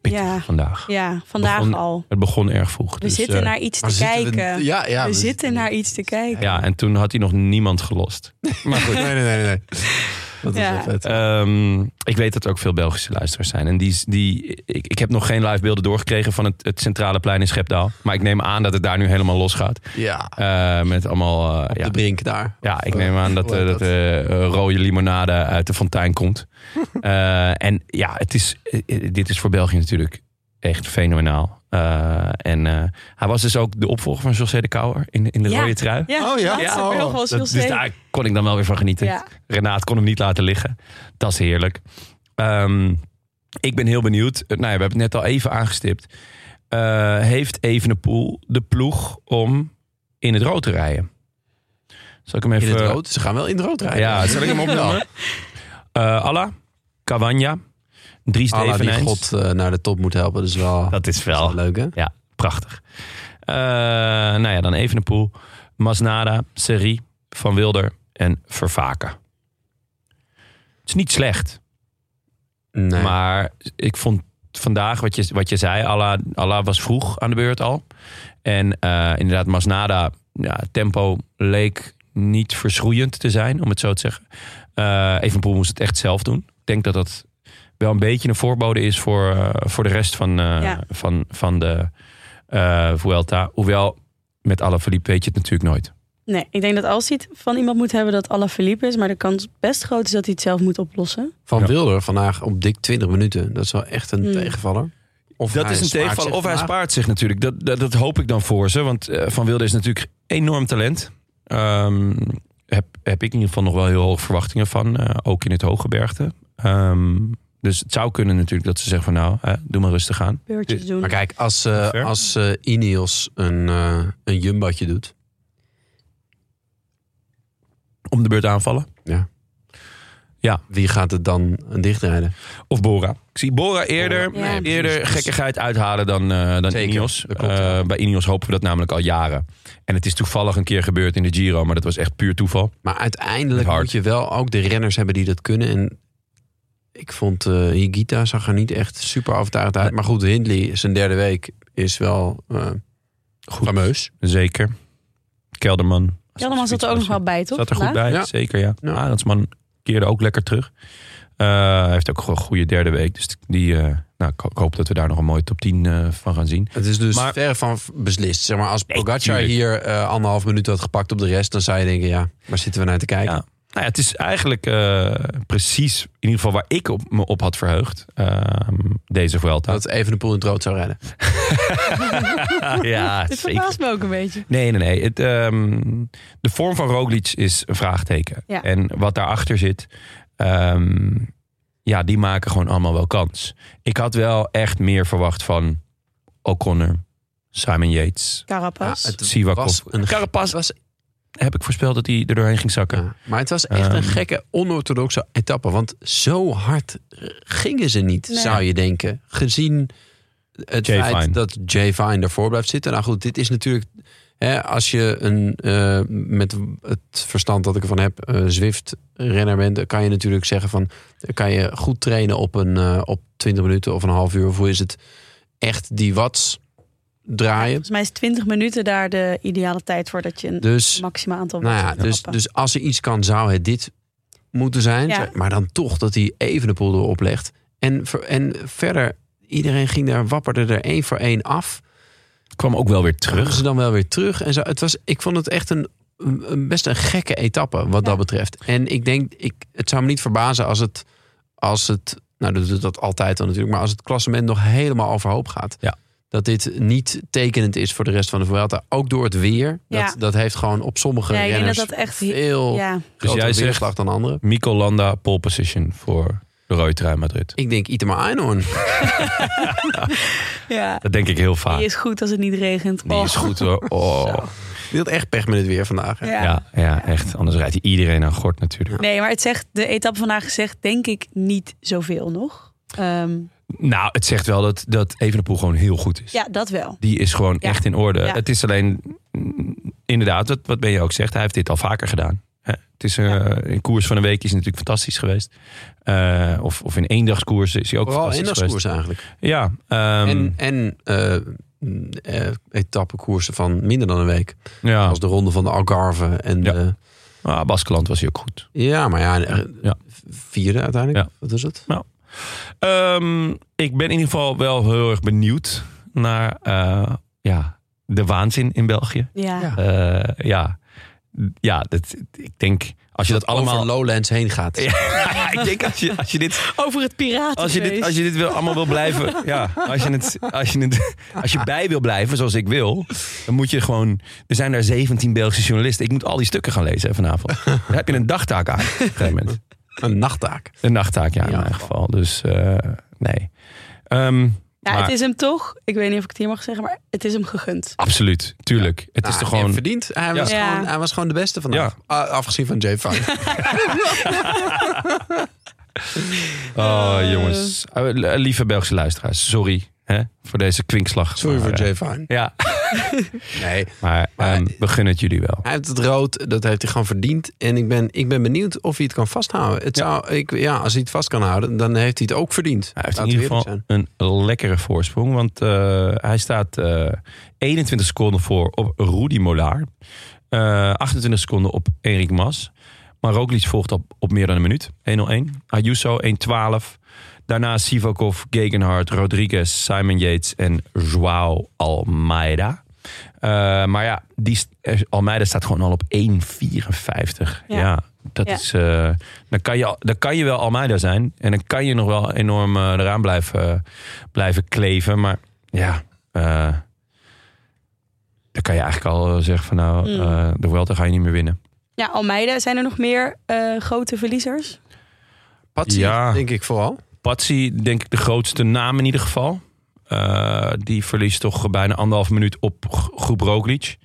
pittig
Ja.
vandaag.
Ja, vandaag
Begon-
al.
Het begon erg vroeg.
We
dus,
zitten
eh,
naar iets
Maar
te
zitten we-
kijken.
ja, ja,
we zitten naar iets te kijken.
Ja, en toen had hij nog niemand gelost. Maar goed.
Nee, nee, nee. nee. Dat is
Ja.
wel vet.
Ehm, ik weet dat er ook veel Belgische luisteraars zijn. En die, die, ik, ik heb nog geen live beelden doorgekregen van het, het centrale plein in Schepdaal. Maar ik neem aan dat het daar nu helemaal losgaat.
Ja,
Eh met allemaal. eh,
op
ja,
de brink daar.
Ja, ik
eh,
neem aan dat,
hoe
eh,
heet
dat
dat?
eh, eh, rode limonade uit de fontein komt. Eh, en ja, het is, eh, eh, dit is voor België natuurlijk echt fenomenaal. Eh, en eh, hij was dus ook de opvolger van José de Kouwer in, in de
Ja.
rode trui.
Ja,
Oh, ja?
laatste
Ja.
beeld was
Dat-
heel
dus
zeker.
daar kon ik dan wel weer van genieten.
Ja.
Renaat kon hem niet laten liggen. Dat is heerlijk. Ehm, ik ben heel benieuwd. Eh, Nou ja, we hebben het net al even aangestipt. Eh heeft Evenepoel de ploeg om in het rood te rijden? Zal ik hem even...
In het rood. Ze gaan wel in het rood rijden.
Ja, zal ik hem opnoemen? Eh Alla, Cavagna, Dries
Allah die
Devenijns.
God eh, naar de top moet helpen. Dat is wel, dat
Dat is
is
wel
wel leuk, hè?
prachtig. Eh nou ja, dan Evenepoel, Masnada, Serie, Van Wilder en Vervaken. Het is niet slecht,
Nee.
maar ik vond vandaag wat je, wat je zei, Allah, Allah was vroeg aan de beurt al. En eh, inderdaad, Masnada, ja, tempo leek niet verschroeiend te zijn, om het zo te zeggen. Eh Evenepoel moest het echt zelf doen. Ik denk dat dat wel een beetje een voorbode is voor, eh, voor de rest van, eh,
Ja.
van, van de eh Vuelta. Hoewel, met Alaphilippe weet je het natuurlijk nooit.
Nee, ik denk dat als hij het van iemand moet hebben dat Alaphilippe is, maar de kans best groot is dat hij het zelf moet oplossen.
Van
Ja.
Wilder vandaag op dik 20 minuten. Dat is wel echt een
Hmm.
tegenvaller. Of
Dat
hij
is een
spaart
tegenvaller.
zich
Of hij
vandaag.
spaart zich natuurlijk. Dat, dat, dat hoop ik dan voor ze. Want eh, Van Wilde is natuurlijk enorm talent. Ehm, heb, heb ik in ieder geval nog wel heel hoge verwachtingen van. eh, ook in het hooggebergte. Ehm dus het zou kunnen natuurlijk dat ze zeggen van nou, eh, doe maar rustig aan.
Beurtjes doen.
Maar kijk, als, eh
Ver.
als eh, Ineos een, eh een jumbatje doet.
Om de beurt aanvallen.
Wie gaat het dan eh, dichtrijden?
Of Bora. Ik zie Bora eerder,
Ja. nee,
eerder gekkigheid uithalen dan, eh, dan
Zeker,
Ineos.
dat klopt,
Eh,
ja.
bij Ineos hopen we dat namelijk al jaren. En het is toevallig een keer gebeurd in de Giro, maar dat was echt puur toeval.
Maar uiteindelijk
Hard.
moet je wel ook de renners hebben die dat kunnen. En ik vond eh Higita zag er niet echt super overtuigd uit. Maar goed, Hindley, zijn derde week, is wel eh fameus.
Zeker. Kelderman.
Kelderman zat er ook nog wel bij, toch?
Zat er goed
vandaag?
bij,
Ja.
zeker ja.
Ja.
Arendsman keerde ook lekker terug. Eh, hij heeft ook gewoon een goede derde week. Dus die, eh, nou, ik ho- ik hoop dat we daar nog een mooie top 10 eh, van gaan zien.
Het is dus
Maar-
ver van v- beslist. Zeg maar, als
Nee,
Pogacar
tuurlijk.
hier eh, anderhalf minuut had gepakt op de rest, dan zou je denken, ja, waar zitten we naar te kijken?
Ja. Nou ja, het is eigenlijk eh, precies in ieder geval waar ik op, me op had verheugd. ehm, deze Vuelta.
Dat even de poel in het rood zou rennen.
Ah, ja,
Dit
zeker.
verbaast me ook een beetje.
Nee, nee, nee. Het, ehm, de vorm van Roglic is een vraagteken.
Ja.
En wat daarachter zit, ehm, ja, die maken gewoon allemaal wel kans. Ik had wel echt meer verwacht van O'Connor, Simon Yates,
Carapas.
Ja, het
Sivakov.
was een ge-
Carapaz was, heb ik voorspeld dat hij er doorheen ging zakken.
Ja, maar het was echt een
Ehm.
gekke, onorthodoxe etappe. Want zo hard eh, gingen ze niet,
Nee.
zou je denken. Gezien het
Jay
feit
Vine.
dat Jay Vine ervoor blijft zitten. Nou goed, dit is natuurlijk... Hè, als je een, eh, met het verstand dat ik ervan heb, eh Zwift-renner bent... dan kan je natuurlijk zeggen van... dan kan je goed trainen op, een, eh, op 20 minuten of een half uur. Of hoe is het echt die watts draaien.
Volgens mij is 20 minuten daar de ideale tijd voor dat je een
Dus
maximaal aantal
Nou ja,
mensen
dus,
trappen.
dus als er iets kan, zou het dit moeten zijn.
Ja.
Maar dan toch dat hij even de poel erop legt. En, ver- en verder, iedereen ging daar, wapperde er één voor één af.
Kwam ook wel weer
Terug
terug.
ze dan wel weer terug. En zo, het was, ik vond het echt een, een best een gekke etappe wat dat betreft. En ik denk, ik, het zou me niet verbazen als het, als het, nou dat doet dat altijd dan natuurlijk, maar als het klassement nog helemaal overhoop gaat.
Ja.
Dat dit niet tekenend is voor de rest van de Vuelta. Ook door het weer. Dat,
Ja.
dat heeft gewoon op sommige
Ja, ik denk
dus renners
dat dat echt-
veel
ja.
Dus jij
grotere
zegt
weerslag dan anderen.
Mico Landa pole position voor de rode trui Madrid.
Ik denk Itema Einhorn.
ja,
Dat denk ik heel vaak.
die is goed als het niet regent.
Die is
Oh.
goed hoor. Oh.
Die had echt pech met het weer vandaag. hè?
Ja.
Ja, ja, echt. Anders rijdt hij iedereen aan gort natuurlijk.
Nee, maar het zegt, de etappe vandaag zegt denk ik niet zoveel nog. Ehm,
Nou, het zegt wel dat, dat Evenepoel gewoon heel goed is.
ja, dat wel.
Die is gewoon
Ja.
echt in orde.
Ja.
Het is alleen, mm, inderdaad, wat, wat ben je ook zegt, hij heeft dit al vaker gedaan. Hè? Het is eh, een koers van een week is natuurlijk fantastisch geweest. Eh, of, of in ééndagskoers is hij ook
Vooral
fantastisch geweest.
eendagskoers eigenlijk.
Ja, ehm,
en en eh, mm, eh, etappekoersen van minder dan een week.
ja.
Als de ronde van de Algarve. En
Nou. Ja.
ja.
Ah, Baskeland was hij ook goed.
ja, maar ja, eh,
Ja.
vierde uiteindelijk.
Ja.
Wat is het?
Ehm, ik ben in ieder geval wel heel erg benieuwd naar eh, ja, de waanzin in België.
Ja.
Ja.
Eh, ja, ja dat, ik denk als je dat, allemaal.
Over Lowlands heen gaat.
Ja, ik denk als je, als je dit.
Over het piratenfeest.
Als je dit, als je dit wil, allemaal wil blijven. Ja, als je, het, als, je het, als je bij wil blijven, zoals ik wil. Dan moet je gewoon. Er zijn daar 17 Belgische journalisten. Ik moet al die stukken gaan lezen hè, vanavond. Daar heb je een dagtaak aan. Op een gegeven moment.
Een nachttaak.
Een nachttaak, ja, in
Ja.
mijn geval. Dus eh, nee. Ehm,
ja,
maar
het is hem toch, ik weet niet of ik het hier mag zeggen, maar het is hem gegund.
Absoluut, tuurlijk. Het
Nou,
is toch
en
gewoon.
verdiend. Hij, was
Ja.
gewoon, hij was gewoon de beste vandaag. A- afgezien van Jay Vine.
Oh, jongens. Eh, Lieve Belgische luisteraars, sorry hè, voor deze kwinkslag.
Sorry
Maar,
voor
eh,
Jay Vine.
Ja,
Nee,
maar
Maar-
ehm, we gunnen het jullie wel.
Hij heeft het rood, dat heeft hij gewoon verdiend. En ik ben, ik ben benieuwd of hij het kan vasthouden. Het zou, ik, ja, als hij het vast kan houden, dan heeft hij het ook verdiend.
Hij heeft in
Laten we
ieder geval
eerlijk
een lekkere voorsprong. Want eh, hij staat eh, 21 seconden voor op Rudy Molaar. Eh, 28 seconden op Erik Mas. Maar Roglic volgt op, op meer dan een minuut. 1-0-1. Ayuso 1-12. Daarna Sivakov, Gegenhardt, Rodriguez, Simon Yates en Joao Almeida. Eh, maar ja, die, st- eh, Almeida staat gewoon al op 1,54. Ja.
Ja.
dat
Ja.
is. eh, dan, kan je, al- dan kan je wel Almeida zijn. En dan kan je nog wel enorm eh, eraan blijven, blijven kleven. Maar ja. eh, dan kan je eigenlijk al eh, zeggen van nou,
Mm.
eh, de Vuelta ga je niet meer winnen.
Ja, Almeida, zijn er nog meer eh, grote verliezers?
zijn. Patsy,
Ja.
denk ik vooral.
Patsy, denk ik de grootste naam in ieder geval. Eh, die verliest toch bijna anderhalf minuut op gro- groep Roglic.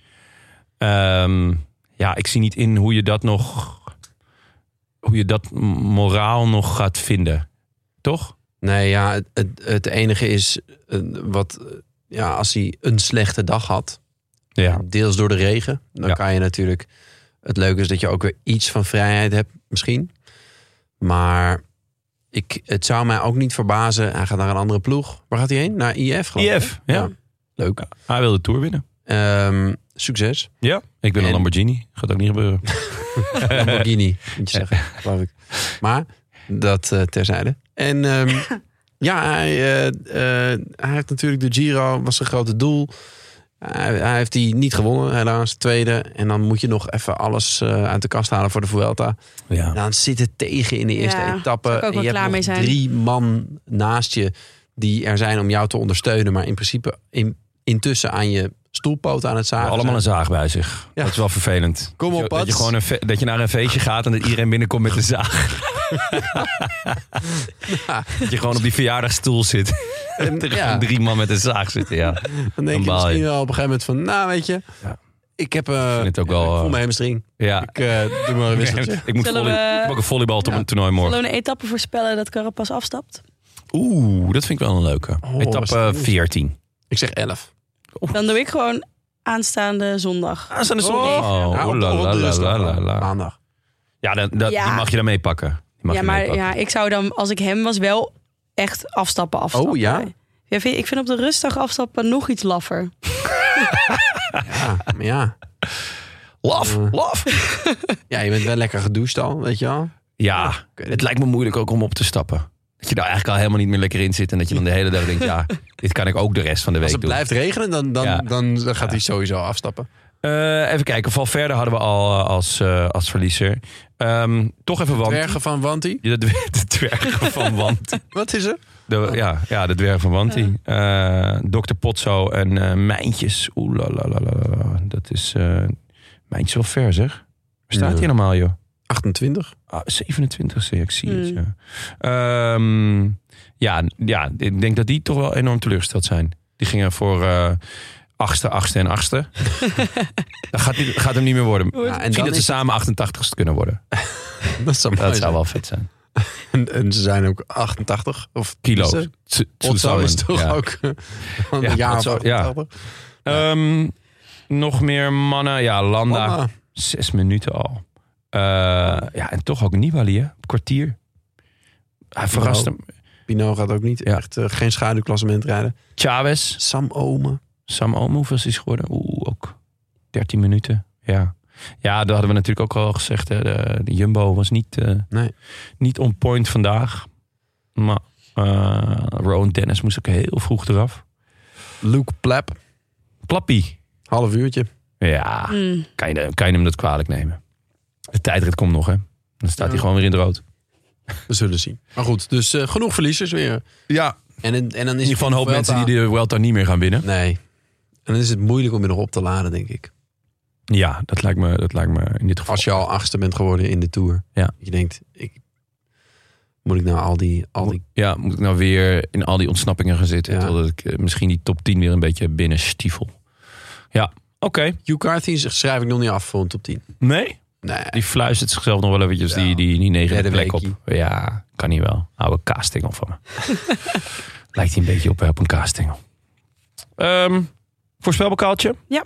Ehm, ja, ik zie niet in hoe je dat nog... Hoe je dat m- moraal nog gaat vinden. Toch?
Nee, ja, het, het, het enige is eh, wat, eh, ja, als hij een slechte dag had,
Ja.
deels door de regen, dan
Ja.
kan je natuurlijk. Het leuke is dat je ook weer iets van vrijheid hebt, misschien. Maar ik, het zou mij ook niet verbazen. Hij gaat naar een andere ploeg. Waar gaat hij heen? Naar IF. geloof ik,
IF,
hè?
ja.
Leuk.
Hij wil de Tour winnen.
Ehm, succes.
Ja. Ik ben
En-
een Lamborghini. Gaat ook niet gebeuren.
Lamborghini, moet je zeggen, geloof ik. Maar dat eh, terzijde. En ehm, ja, hij, eh, eh, hij heeft natuurlijk de Giro, was zijn grote doel. Hij, hij heeft die niet gewonnen, helaas, tweede. En dan moet je nog even alles eh, uit de kast halen voor de Vuelta.
Ja.
Dan zit het tegen in de eerste
Ja,
etappe.
zou ik ook
En
wel
je
klaar
hebt
mee
nog
zijn.
drie man naast je die er zijn om jou te ondersteunen. Maar in principe in, intussen aan je stoelpoot aan het zagen.
Allemaal
zijn.
een zaag bij zich.
Ja.
Dat is wel vervelend.
Kom
Dat je-
op,
dat je,
Pats.
gewoon een fe- dat je naar een feestje gaat en dat iedereen binnenkomt met een zaag. dat je gewoon op die verjaardagstoel zit. En er
ja.
gaan drie man met een zaag zitten, ja.
Dan denk je
Dan baal je.
misschien wel op een gegeven moment van, nou weet je,
Ja.
ik heb eh
vind het ook wel,
ik voel
eh,
mijn hamstring.
ja.
Ik eh, doe maar een wisseltje.
Ik moet
Zullen
volley-
we-
ik heb ook een volleybal
Ja.
toernooi
Zullen
morgen.
we een etappe voorspellen dat Carapaz afstapt?
Oeh, dat vind ik wel een leuke.
Oh, was dat
Etappe
goed.
14.
Ik zeg 11.
Dan doe ik gewoon aanstaande zondag.
Aanstaande
zondag.
Oh,
Ja, op-
oeh, la,
op de
la, la,
rustdag
la,
dan,
la.
Maandag.
Ja, dan, dat,
Ja.
die mag je dan meepakken. Die mag
Ja,
je
maar
meepakken.
ja, ik zou dan, als ik hem was, wel echt afstappen afstappen.
Oh, ja?
Ja, vind- ik vind op de rustdag afstappen nog iets laffer.
Ja, maar ja.
Laf,
Eh.
laf.
ja, je bent wel lekker gedoucht al, weet je wel.
Ja, het lijkt me moeilijk ook om op te stappen. Dat je daar eigenlijk al helemaal niet meer lekker in zit. En dat je dan de hele dag denkt, ja, dit kan ik ook de rest van de
Als
week
het
doen.
blijft regenen, dan, dan,
Ja.
dan gaat hij sowieso afstappen.
Eh, even kijken, Valverde hadden we al eh, als, eh, als verliezer. Ehm, toch even Want.
Bergen van Wanti.
Ja, De, dwer- de dwergen van Want.
Wat is er?
De, ja, ja, de dwerg van Wanti. Eh Dr. Potso en eh Mijntjes. Oeh, la, la, la, la, la. Dat is... eh Mijntjes wel ver, zeg. Waar staat
Ja.
hij nou, normaal, joh?
28.
Ah, 27ste, ik zie het,
Hmm.
ja. Ehm, ja. Ja, ik denk dat die toch wel enorm teleurgesteld zijn. Die gingen voor eh achtste, achtste en achtste. dat gaat, niet- gaat hem niet meer worden.
Ja, en
Misschien
dan
dat ze
is, Oh,
samen 88ste kunnen worden.
dat zou, mooi
Dat zou
zijn.
wel vet zijn.
En, en ze zijn ook 88. Of
Kilo's.
Ze- Otso is toch
Ja.
ook eh, van
Ja,
een jaar of
Otso, ja.
88.
Ehm, nog meer mannen. Ja, Landa.
Mama.
Zes minuten al. Eh, ja, en toch ook Nibali, hè? Kwartier. Hij verrast
Nou.
hem.
Pino gaat ook niet
Ja.
echt eh, geen schaduwklassement rijden.
Chavez.
Sam Ome.
Sam Omo, hoeveel is hij geworden? Oeh, ook 13 minuten. Ja. Ja, dat hadden we natuurlijk ook al gezegd. Hè. De, de Jumbo was niet, eh,
Nee.
niet on point vandaag. Maar eh Rowan Dennis moest ook heel vroeg eraf.
Luke Plap.
Plappie.
Half uurtje.
Ja,
Mm.
kan je, kan je hem dat kwalijk nemen. De tijdrit komt nog, hè. Dan staat hij
Ja.
gewoon weer in het rood.
We zullen zien. Maar goed, dus eh, genoeg verliezers weer.
Ja,
En, en dan is
in ieder geval een hoop mensen die de Welta niet meer gaan winnen.
Nee. En dan is het moeilijk om je nog op te laden, denk ik.
Ja, dat lijkt me, dat lijkt me in dit geval.
Als je al achtste bent geworden in de Tour.
Ja.
Je denkt, ik, moet ik nou al die... Al die
Ja, moet ik nou weer in al die ontsnappingen gaan zitten.
Ja.
Totdat ik eh, misschien die top 10 weer een beetje binnen stiefel. Ja, oké.
Hugh Carthy schrijf ik nog niet af voor een top 10.
Nee?
Nee.
Die fluistert zichzelf nog wel eventjes
Ja.
die, die, die negende
Derde
plek op.
weekie.
Ja, kan niet wel. Oude kaastingel van me. Lijkt hij een beetje op, hè, op een kaastingel. Ehm voorspelbokaaltje?
Ja.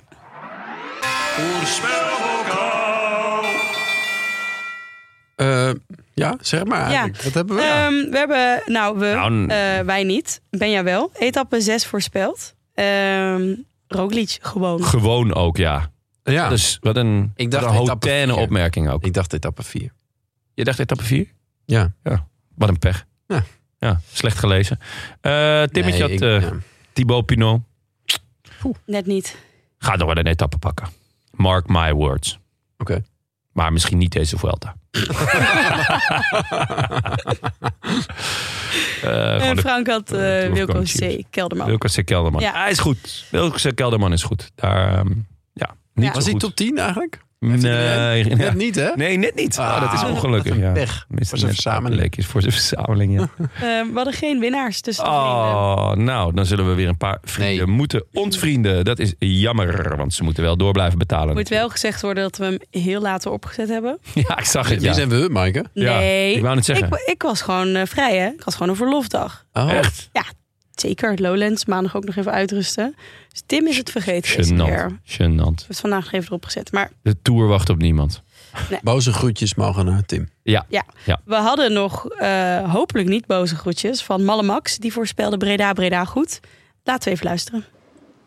Eh, ja, zeg maar eigenlijk.
Ja.
Wat hebben we? Ja.
Ehm, we hebben, nou, we,
Oh, Nou, n-
eh, wij niet. Benja wel. Etappe 6 voorspeld. Ehm Roglic gewoon.
Gewoon ook, ja.
Ja.
Dus wat een,
Ik dacht
wat een
etappe
hautaine
vier.
opmerking ook.
Ik dacht etappe 4.
Je dacht etappe 4?
Ja.
Wat een pech.
Ja.
Ja, slecht gelezen. Eh Timmetje
Nee,
had
ik-
eh,
ja.
Thibaut Pinot.
Net niet.
Eh, Gaat nog wel een etappe pakken. Mark my words.
Oké.
Maar misschien niet deze Vuelta. Eh
En
gewoon de
Frank had eh,
eh,
Wilco
Tourcoaches.
C. Kelderman.
Wilkens Kelderman.
Ja.
Hij is goed. Wilkens Kelderman is goed. Daar, ehm, ja, niet
Ja.
zo
Was die
goed.
top 10 eigenlijk?
Nee,
Net
ja.
niet, hè?
nee, net niet. Ah, dat
Ah,
is ongelukkig. Ja.
Pech.
Mist
Voor zijn
net
verzameling.
leek is voor zijn verzameling. Ja.
Ehm, we hadden geen winnaars dus tussen de vrienden.
Oh, nou, dan zullen we weer een paar vrienden
Nee.
moeten ontvrienden. Dat is jammer, want ze moeten wel door blijven betalen.
Moet wel gezegd worden dat we hem heel later opgezet hebben.
Ja, ik zag het.
Wie
Ja.
zijn we, Maaike?
Ja,
Nee.
ik wou net zeggen.
Ik, ik was gewoon eh, vrij, hè? Ik had gewoon een verlofdag.
Oh,
Echt?
Zeker, Lowlands, maandag ook nog even uitrusten. Dus Tim is het vergeten deze keer.
Gênant. Gênant.
We hebben het vandaag nog even erop gezet. Maar
De tour wacht op niemand.
Boze groetjes mogen naar Tim.
we hadden nog eh, hopelijk niet boze groetjes van Malle Max. Die voorspelde Breda Breda goed. Laten we even luisteren.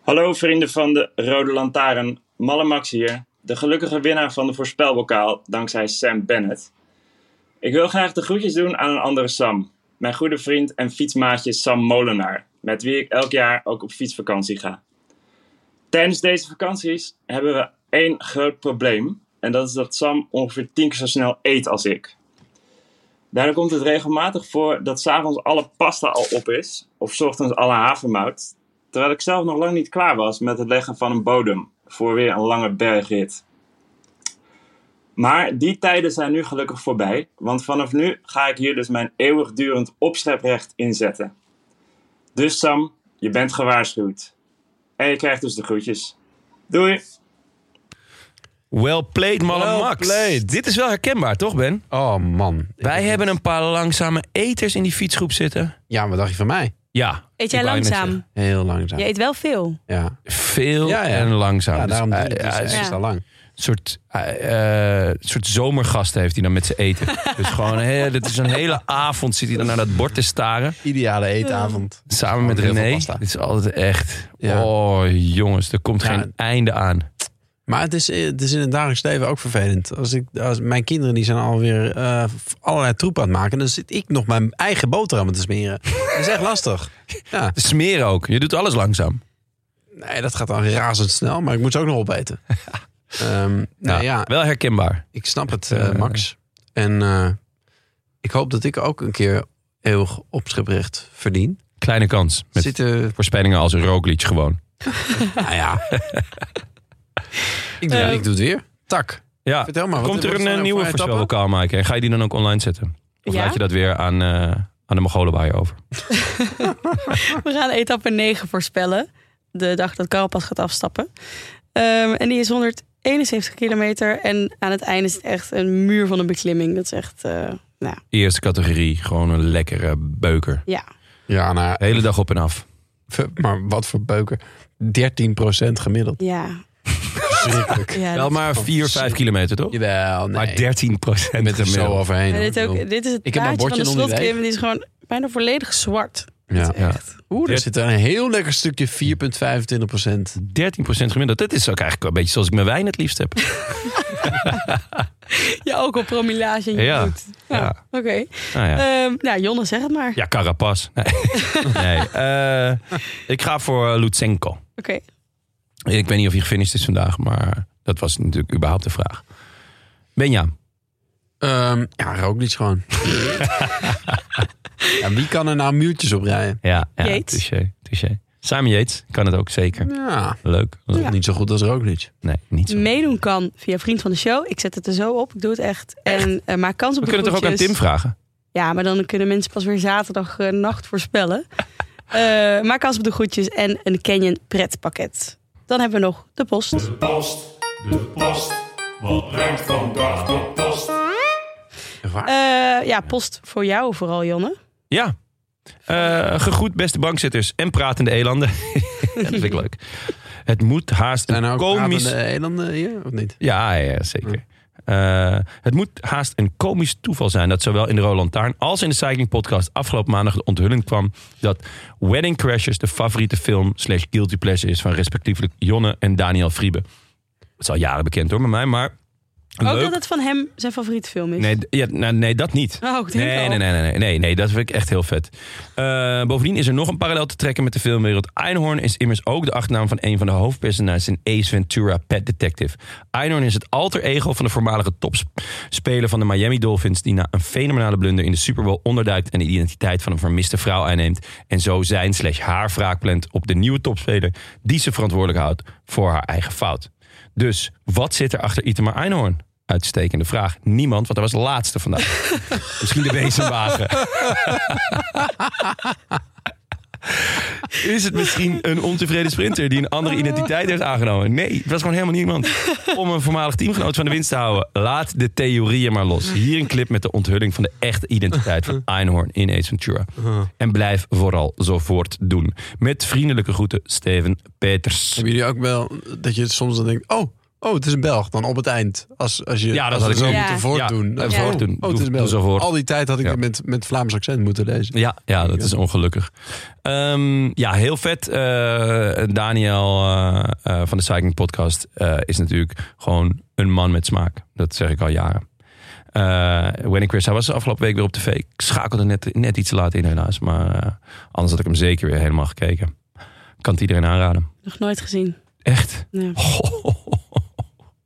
Hallo vrienden van de Rode Lantaarn, Malle Max hier. De gelukkige winnaar van de voorspelbokaal, dankzij Sam Bennett. Ik wil graag de groetjes doen aan een andere Sam. Mijn goede vriend en fietsmaatje Sam Molenaar. Met wie ik elk jaar ook op fietsvakantie ga. Tijdens deze vakanties hebben we één groot probleem. En dat is dat Sam ongeveer tien keer zo snel eet als ik. Daardoor komt het regelmatig voor dat s'avonds alle pasta al op is. Of 's ochtends alle havermout. Terwijl ik zelf nog lang niet klaar was met het leggen van een bodem voor weer een lange bergrit. Maar die tijden zijn nu gelukkig voorbij, want vanaf nu ga ik hier dus mijn eeuwigdurend opscheprecht inzetten. Dus Sam, je bent gewaarschuwd. En je krijgt dus de groetjes. Doei!
Well played, Malle
Well
Max.
played.
Dit is wel herkenbaar, toch Ben?
Oh, man.
Wij hebben een paar langzame eters in die fietsgroep zitten.
Ja, wat dacht je van mij?
Ja.
Eet jij
ik wou je net
langzaam?
Heel langzaam.
Je eet wel veel.
Ja.
zeggen. Veel
Ja, ja.
en langzaam.
ja,
Dus,
daarom doe
eh,
ik het dus.
ja,
Het
ja.
is al lang.
Een soort, eh, eh, soort zomergast heeft hij dan met zijn eten. dus gewoon, hé, dit is een hele avond zit hij dan naar dat bord te staren.
Ideale eetavond.
Samen met
Gewoon Oh, heel veel
René.
pasta.
Dit is altijd echt.
Ja.
Oh jongens, er komt
Ja.
geen einde aan.
Maar het is, het is in het dagelijks leven ook vervelend. Als ik, als mijn kinderen die zijn alweer eh, allerlei troep aan het maken. Dan zit ik nog mijn eigen boterhammen te smeren. Dat is echt lastig. Ja.
Smeren ook. Je doet alles langzaam.
Nee, dat gaat dan razendsnel. Maar ik moet ze ook nog opeten. Ehm nou
Nou,
ja,
Wel herkenbaar.
ik snap het,
eh,
eh, Max. En eh, ik hoop dat ik ook een keer eeuwig opschriprecht verdien.
Kleine kans. Met
Zitten,
voorspellingen als een rookliedje gewoon.
nou ja. ik, doe,
Eh,
ik doe het weer. Tak.
Ja.
Vertel maar. wat-
Komt er
wat
een
zijn
eh, nieuwe
nou voor etappen?
voorspelbokaal maken? En ga je die dan ook online zetten? Of
Ja?
laat je dat weer aan, eh, aan de Mogolenbaai over?
We gaan etappe 9 voorspellen. De dag dat Carapas gaat afstappen. Ehm, en die is 171 kilometer. En aan het einde is het echt een muur van een beklimming. Dat is echt, eh, nou
Eerste categorie. Gewoon een lekkere beuker.
ja.
Ja, nou,
De hele dag op en af.
Ver- Maar wat voor beuken. 13% gemiddeld.
Ja,
Verschrikkelijk.
ja
Wel
dit-
maar 4, 5 kilometer toch?
Jawel, nee.
Maar 13 procent
met er zo overheen.
maar
hoor.
dit, ook, dit is het
Ik heb mijn
plaatje van
bordje
de
nog niet
slotklim. Die is gewoon bijna volledig zwart.
Ja.
Ja.
Echt.
Oeh, er zit een heel lekker stukje 4,25%.
13 gemiddeld. Dat is ook eigenlijk een beetje zoals ik mijn wijn het liefst heb.
Je alcoholpromillage in je
Ja.
bloed. Nou,
Ja.
Oké.
Nou ja.
Ehm, nou, Jonne, zeg het maar.
Ja, Carapas. Nee. nee. eh, ik ga voor eh, Lutsenko.
Oké.
Ik weet niet of hij gefinished is vandaag, maar dat was natuurlijk überhaupt de vraag. Benja,
Ehm ja, Roglic gewoon. ja, wie kan er nou muurtjes op rijden?
ja, ja
Yates.
touché, touché. Simon Yates kan het ook zeker.
Mm. Ja,
Leuk.
toch niet zo goed als Roglic.
Nee, niet zo.
Meedoen kan via Vriend van de Show. Ik zet het er zo op. Ik doe het echt. En eh, maak kans op
We
de
kunnen toch ook aan
groetjes.
Tim vragen?
Ja, maar dan kunnen mensen pas weer zaterdag eh, nacht voorspellen. Eh, maak kans op de groetjes en een Canyon pretpakket. Dan hebben we nog de post.
post, de post. Wat brengt vandaag de post?
Echt waar?
Eh, ja, post voor jou vooral, Jonne.
Ja. Eh gegroet, beste bankzitters en pratende elanden. Ja, dat vind ik leuk. Het moet haast
Zijn er
een
ook
komisch...
komisch... eilanden eh, hier, of niet?
Ja, ja zeker. Eh, het moet haast een komisch toeval zijn dat zowel in de Roland Taarn als in de Cycling Podcast afgelopen maandag de onthulling kwam dat Wedding Crashers de favoriete film slash guilty pleasure is van respectievelijk Jonne en Daniel Friebe. Het is al jaren bekend hoor met mij, maar
Ook
leuk.
dat het van hem zijn favoriete film is.
Nee, d- ja, nou, nee, dat niet.
Oh, ik denk
nee,
al.
nee, nee, nee, nee, nee, nee, dat vind ik echt heel vet. Eh, bovendien is er nog een parallel te trekken met de filmwereld. Einhorn is immers ook de achternaam van een van de hoofdpersonages in Ace Ventura Pet Detective. Einhorn is het alter ego van de voormalige topspeler van de Miami Dolphins, die na een fenomenale blunder in de Super Bowl onderduikt en de identiteit van een vermiste vrouw aanneemt. En zo zijn slash haar wraak plant op de nieuwe topspeler die ze verantwoordelijk houdt voor haar eigen fout. Dus wat zit er achter Itema Einhorn? Uitstekende vraag. Niemand, want hij was de laatste vandaag. Misschien de bezemwagen. Is het misschien een ontevreden sprinter die een andere identiteit heeft aangenomen? Nee, het was gewoon helemaal niemand. Om een voormalig teamgenoot van de winst te houden, laat de theorieën maar los. Hier een clip met de onthulling van de echte identiteit van Einhorn in Ace Ventura. En blijf vooral zo voort doen. Met vriendelijke groeten, Steven Peters.
Hebben jullie ook wel dat je soms dan denkt: oh, oh het is een Belg. Dan op het eind. Als, als je,
Ja, dat
als
had
we
ik
zo
ook.
moeten
Ja.
voortdoen.
Ja,
Dan-
even
oh,
voortdoen.
Oh, het is een
Doe-
Belg.
doe zo voort.
Al die tijd had ik
Ja.
het met, met Vlaams accent moeten lezen.
Ja, ja dat is ongelukkig. Ehm, ja, heel vet. eh, Daniel eh, eh, van de Cycling Podcast eh, is natuurlijk gewoon een man met smaak. Dat zeg ik al jaren. Eh Wenny Chris, hij was de afgelopen week weer op tv. Ik schakelde net, net iets te laat in helaas. Maar eh, anders had ik hem zeker weer helemaal gekeken. Kan het iedereen aanraden.
Nog nooit gezien.
Echt?
Nee.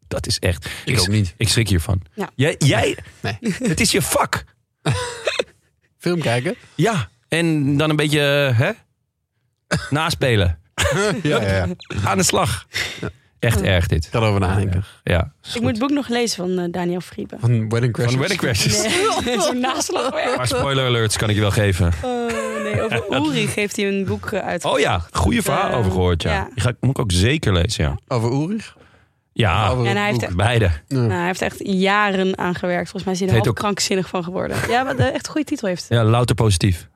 dat is echt.
Ik ook niet.
Ik schrik hiervan.
Ja.
Jij, jij
Nee.
het is je vak.
Film kijken?
Ja, en dan een beetje eh, hè? naspelen.
Ja, ja, ja. Ik
Aan de slag. Echt erg dit.
ga erover nadenken.
Ja.
Ik moet het boek nog lezen van eh, Daniel Friebe.
Van Wedding Crashers.
Van wedding crashes.
Nee, Zo'n naslagwerk.
Maar spoiler alerts kan ik je wel geven.
Oh, nee, over Uri geeft hij een boek eh, uit.
Oh ja, goede verhaal
Eh,
over gehoord. Ja.
ja.
Die ga, ik- moet ik ook zeker lezen. Ja,
Over Ulrich?
ja
Over
En hij
het
heeft-
boek.
beide. Het
Nou, hij heeft echt jaren aan gewerkt. Volgens mij is hij er
Het heet
half
ook-
krankzinnig van geworden. Ja, wat eh, echt een goede titel heeft.
Ja, louter positief.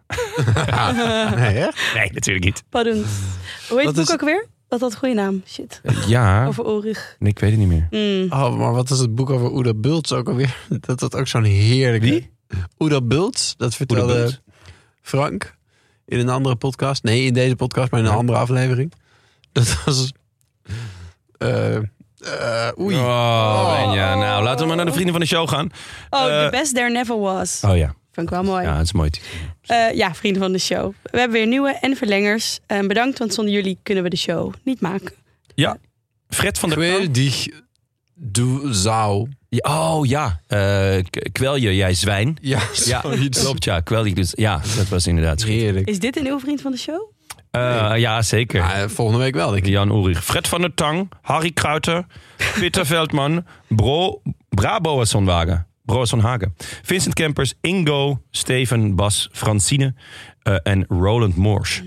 Nee, hè?
Nee, natuurlijk niet.
Pardon. Hoe
Wat
heet het boek
is-
ook weer? Wat had een goede naam. Shit.
Ja,
Over Ulrich.
nee, ik weet het niet meer.
Mm.
Oh, maar wat is het boek over Oeda Bultz ook alweer? Dat dat ook zo'n heerlijke...
Wie?
Oeda Bultz, dat vertelde
Bultz.
Frank in een andere podcast. Nee, in deze podcast, maar in een
Ja.
andere aflevering. Dat was... eh, eh, oei.
Oh, Benja. Nou, laten we maar naar de vrienden van de show gaan.
Oh,
Eh,
The Best There Never Was.
Oh ja,
Vond ik wel mooi.
ja het is mooi.
Eh, ja, vrienden van de show. We hebben weer nieuwe en verlengers. Eh, bedankt, want zonder jullie kunnen we de show niet maken.
Ja, Fred van der Kamp.
Geweldig. Du zou.
Ja, Oh ja, Eh, k- kwel je, jij zwijn.
Ja,
Ja,
zoiets.
klopt, ja. Kwel ik dus. Ja, dat was inderdaad schiet.
Heerlijk.
Is dit een nieuwe vriend van de show?
Eh, Ja, zeker.
Ah, eh, volgende week wel, denk ik.
Jan Ulrich. Fred van der Tang, Harry Kruiter, Peter Veldman, Bro, Braboasson Wagen. Broasson Hagen. Vincent Kempers, Ingo, Steven, Bas, Francine eh, en Roland Moors.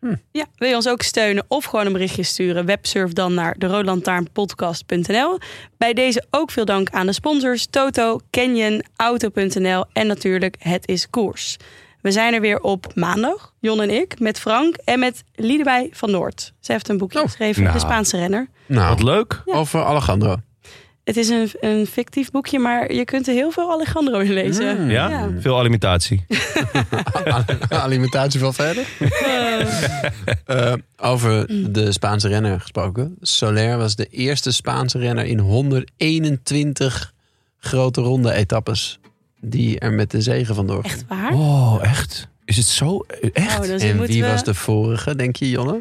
Ah.
Ja, wil je ons ook steunen of gewoon een berichtje sturen? Websurf dan naar deroodlantaarnpodcast.nl. Bij deze ook veel dank aan de sponsors Toto, Canyon, Auto.nl en natuurlijk Het is Koers. We zijn er weer op maandag, Jon en ik, met Frank en met Liedewij van Noord. Zij heeft een boekje geschreven,
nou.
De Spaanse Renner.
Wat
Nou,
leuk.
over Alejandro.
Het is een, een fictief boekje, maar je kunt er heel veel Alejandro in lezen.
Ja? Veel alimentatie.
Alimentatie wel verder. Eh, over de Spaanse renner gesproken. Soler was de eerste Spaanse renner in 121 grote ronde etappes. Die er met de zegen vandoor ging.
Echt waar?
Oh, echt? Is het zo? Eh, Echt?
Oh, dus
En
moeten
wie
we-
was de vorige, denk je, Jonne?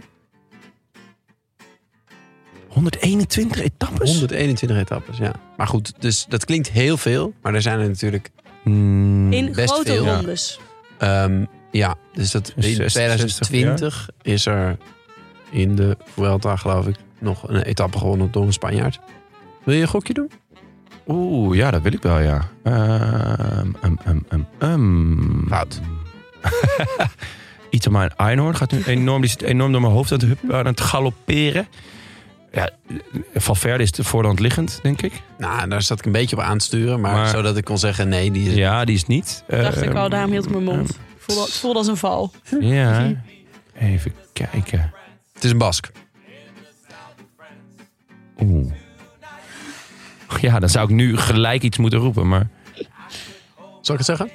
121 etappes?
121 etappes, ja. Maar goed, dus dat klinkt heel veel. Maar er zijn er natuurlijk...
Hmm.
In
Best
grote
veel. Ja.
rondes.
ehm, ja, dus dat in
66
2020 is er in de Vuelta, geloof ik, nog een etappe gewonnen door een Spanjaard. Wil je een gokje doen?
Oeh, ja, dat wil ik wel, ja. Ehm um, um, um, um.
Fout.
Itamar Einhorn gaat nu enorm, die zit enorm door mijn hoofd aan het, hup- aan het galopperen. Ja, Valverde is de voorhand liggend, denk ik.
Nou, daar zat ik een beetje op aan te sturen, maar,
Maar-
zodat ik kon zeggen nee, die is...
Ja, die is niet.
Dacht ik al,
Ehm,
daarom hield ik mijn mond. Het voelde, het voelde als een val.
Ja, even kijken.
Het is een Bask.
Oeh. Ja, dan zou ik nu gelijk iets moeten roepen, maar
Zal ik het zeggen?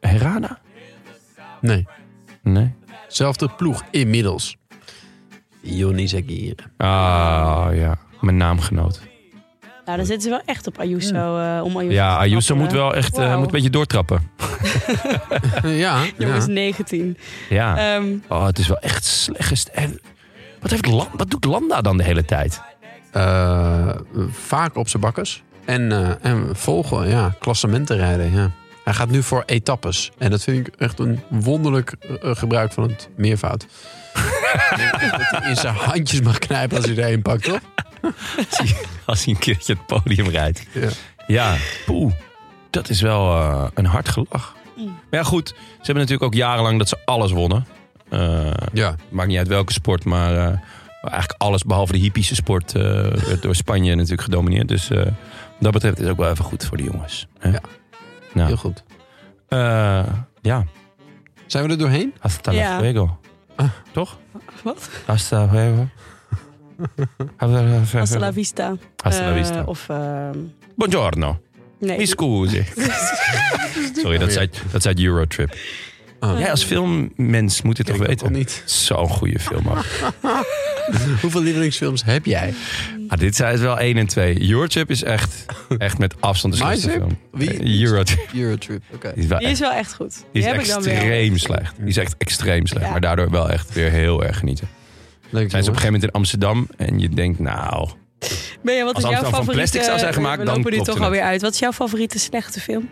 Herrada?
Nee.
Nee.
Zelfde ploeg inmiddels. Johnny Zagir.
Ah, ja. Mijn naamgenoot.
Nou, dan zitten ze wel echt op Ayuso eh, om Ayuso
Ja,
te
Ayuso
trappen.
moet wel echt eh,
Wauw.
moet een beetje doortrappen.
ja,
Jongens,
ja.
19.
Ja.
Ehm,
Oh, het is wel echt slecht. En wat, heeft Lan- wat doet Landa dan de hele tijd?
Eh, vaak op zijn bakkers. En, eh, en volgen, ja, klassementen rijden, ja. Hij gaat nu voor etappes. En dat vind ik echt een wonderlijk eh, eh, gebruik van het meervout. dat hij in zijn handjes mag knijpen als hij er een pakt, toch?
Als hij een keertje het podium rijdt.
Ja.
Ja, poeh. Dat is wel eh, een hard gelach. Maar ja, goed. Ze hebben natuurlijk ook jarenlang dat ze alles wonnen. Eh,
Ja,
maakt niet uit welke sport, maar eh, eigenlijk alles behalve de hippische sport eh, werd door Spanje natuurlijk gedomineerd. Dus eh, wat dat betreft is het ook wel even goed voor de jongens. hè?
Ja.
Nou,
heel goed.
eh, ja,
Zijn we er doorheen?
hasta
Ja.
la fuego.
Ah.
Toch?
Wat?
Hasta la fuego.
Hasta la vista.
Hasta la
Eh,
vista.
Of, ehm,
Eh, Buongiorno.
nee.
Mi scusi. Sorry, dat is uit, dat is uit Eurotrip.
Oh.
Jij als filmmens moet dit toch
Kijk, dat kon
weten?
niet.
Zo'n goede film ook.
Hoeveel lievelingsfilms heb jij?
Ah, dit zijn het wel 1 en 2. Eurotrip is echt, echt met afstand de
My
slechtste
Trip?
film. Eh,
Wie?
Eurotrip.
Eurotrip, oké.
Die is, wel
Die is
echt,
wel echt goed. Die,
die is
heb ik dan wel.
extreem slecht. Die is echt extreem slecht.
Ja.
Maar daardoor wel echt weer heel erg genieten.
Leuk,
Zijn ze op
jongens.
een gegeven moment in Amsterdam en je denkt, nou,
Ben je, wat
Als
is jouw
Amsterdam van
favoriete...
plastic zou zijn gemaakt,
we
dan
lopen nu
klopte
toch
het.
alweer uit. Wat is jouw favoriete slechte film?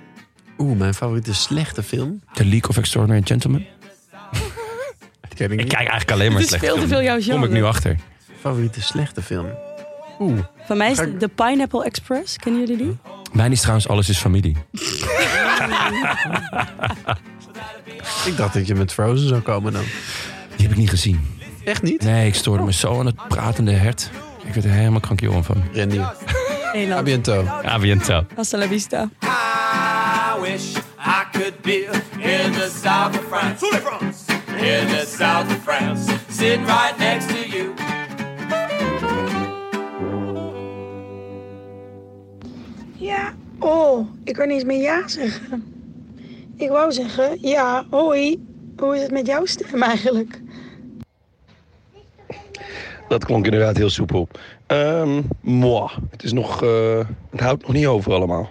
Oeh, mijn favoriete slechte film.
The League of Extraordinary Gentlemen.
Ken ik
Ik
niet.
kijk eigenlijk alleen maar
Het is
slecht.
veel te veel jouw
Kom ik nu
genre.
achter.
Favoriete slechte film. Oeh.
Van mij is
Ga ik-
The Pineapple Express. Kennen jullie die?
Mijn is trouwens Alles is Familie.
Ik dacht dat je met Frozen zou komen dan.
Die heb ik niet gezien.
Echt niet?
Nee, ik stoorde me zo aan het pratende hert. Ik werd er helemaal krankjoren van.
Randy. A
Nederland.
biento.
Aviento.
Hasta la vista.
I wish I could be in the south of France. In the south of France. Sitting right next to you.
Ja, oh, ik kan niet eens meer ja zeggen. Ik wou zeggen, ja, hoi. Hoe is het met jouw stem eigenlijk?
Dat klonk inderdaad heel soepel. Ehm moi. Het, is nog, eh, het houdt nog niet over allemaal.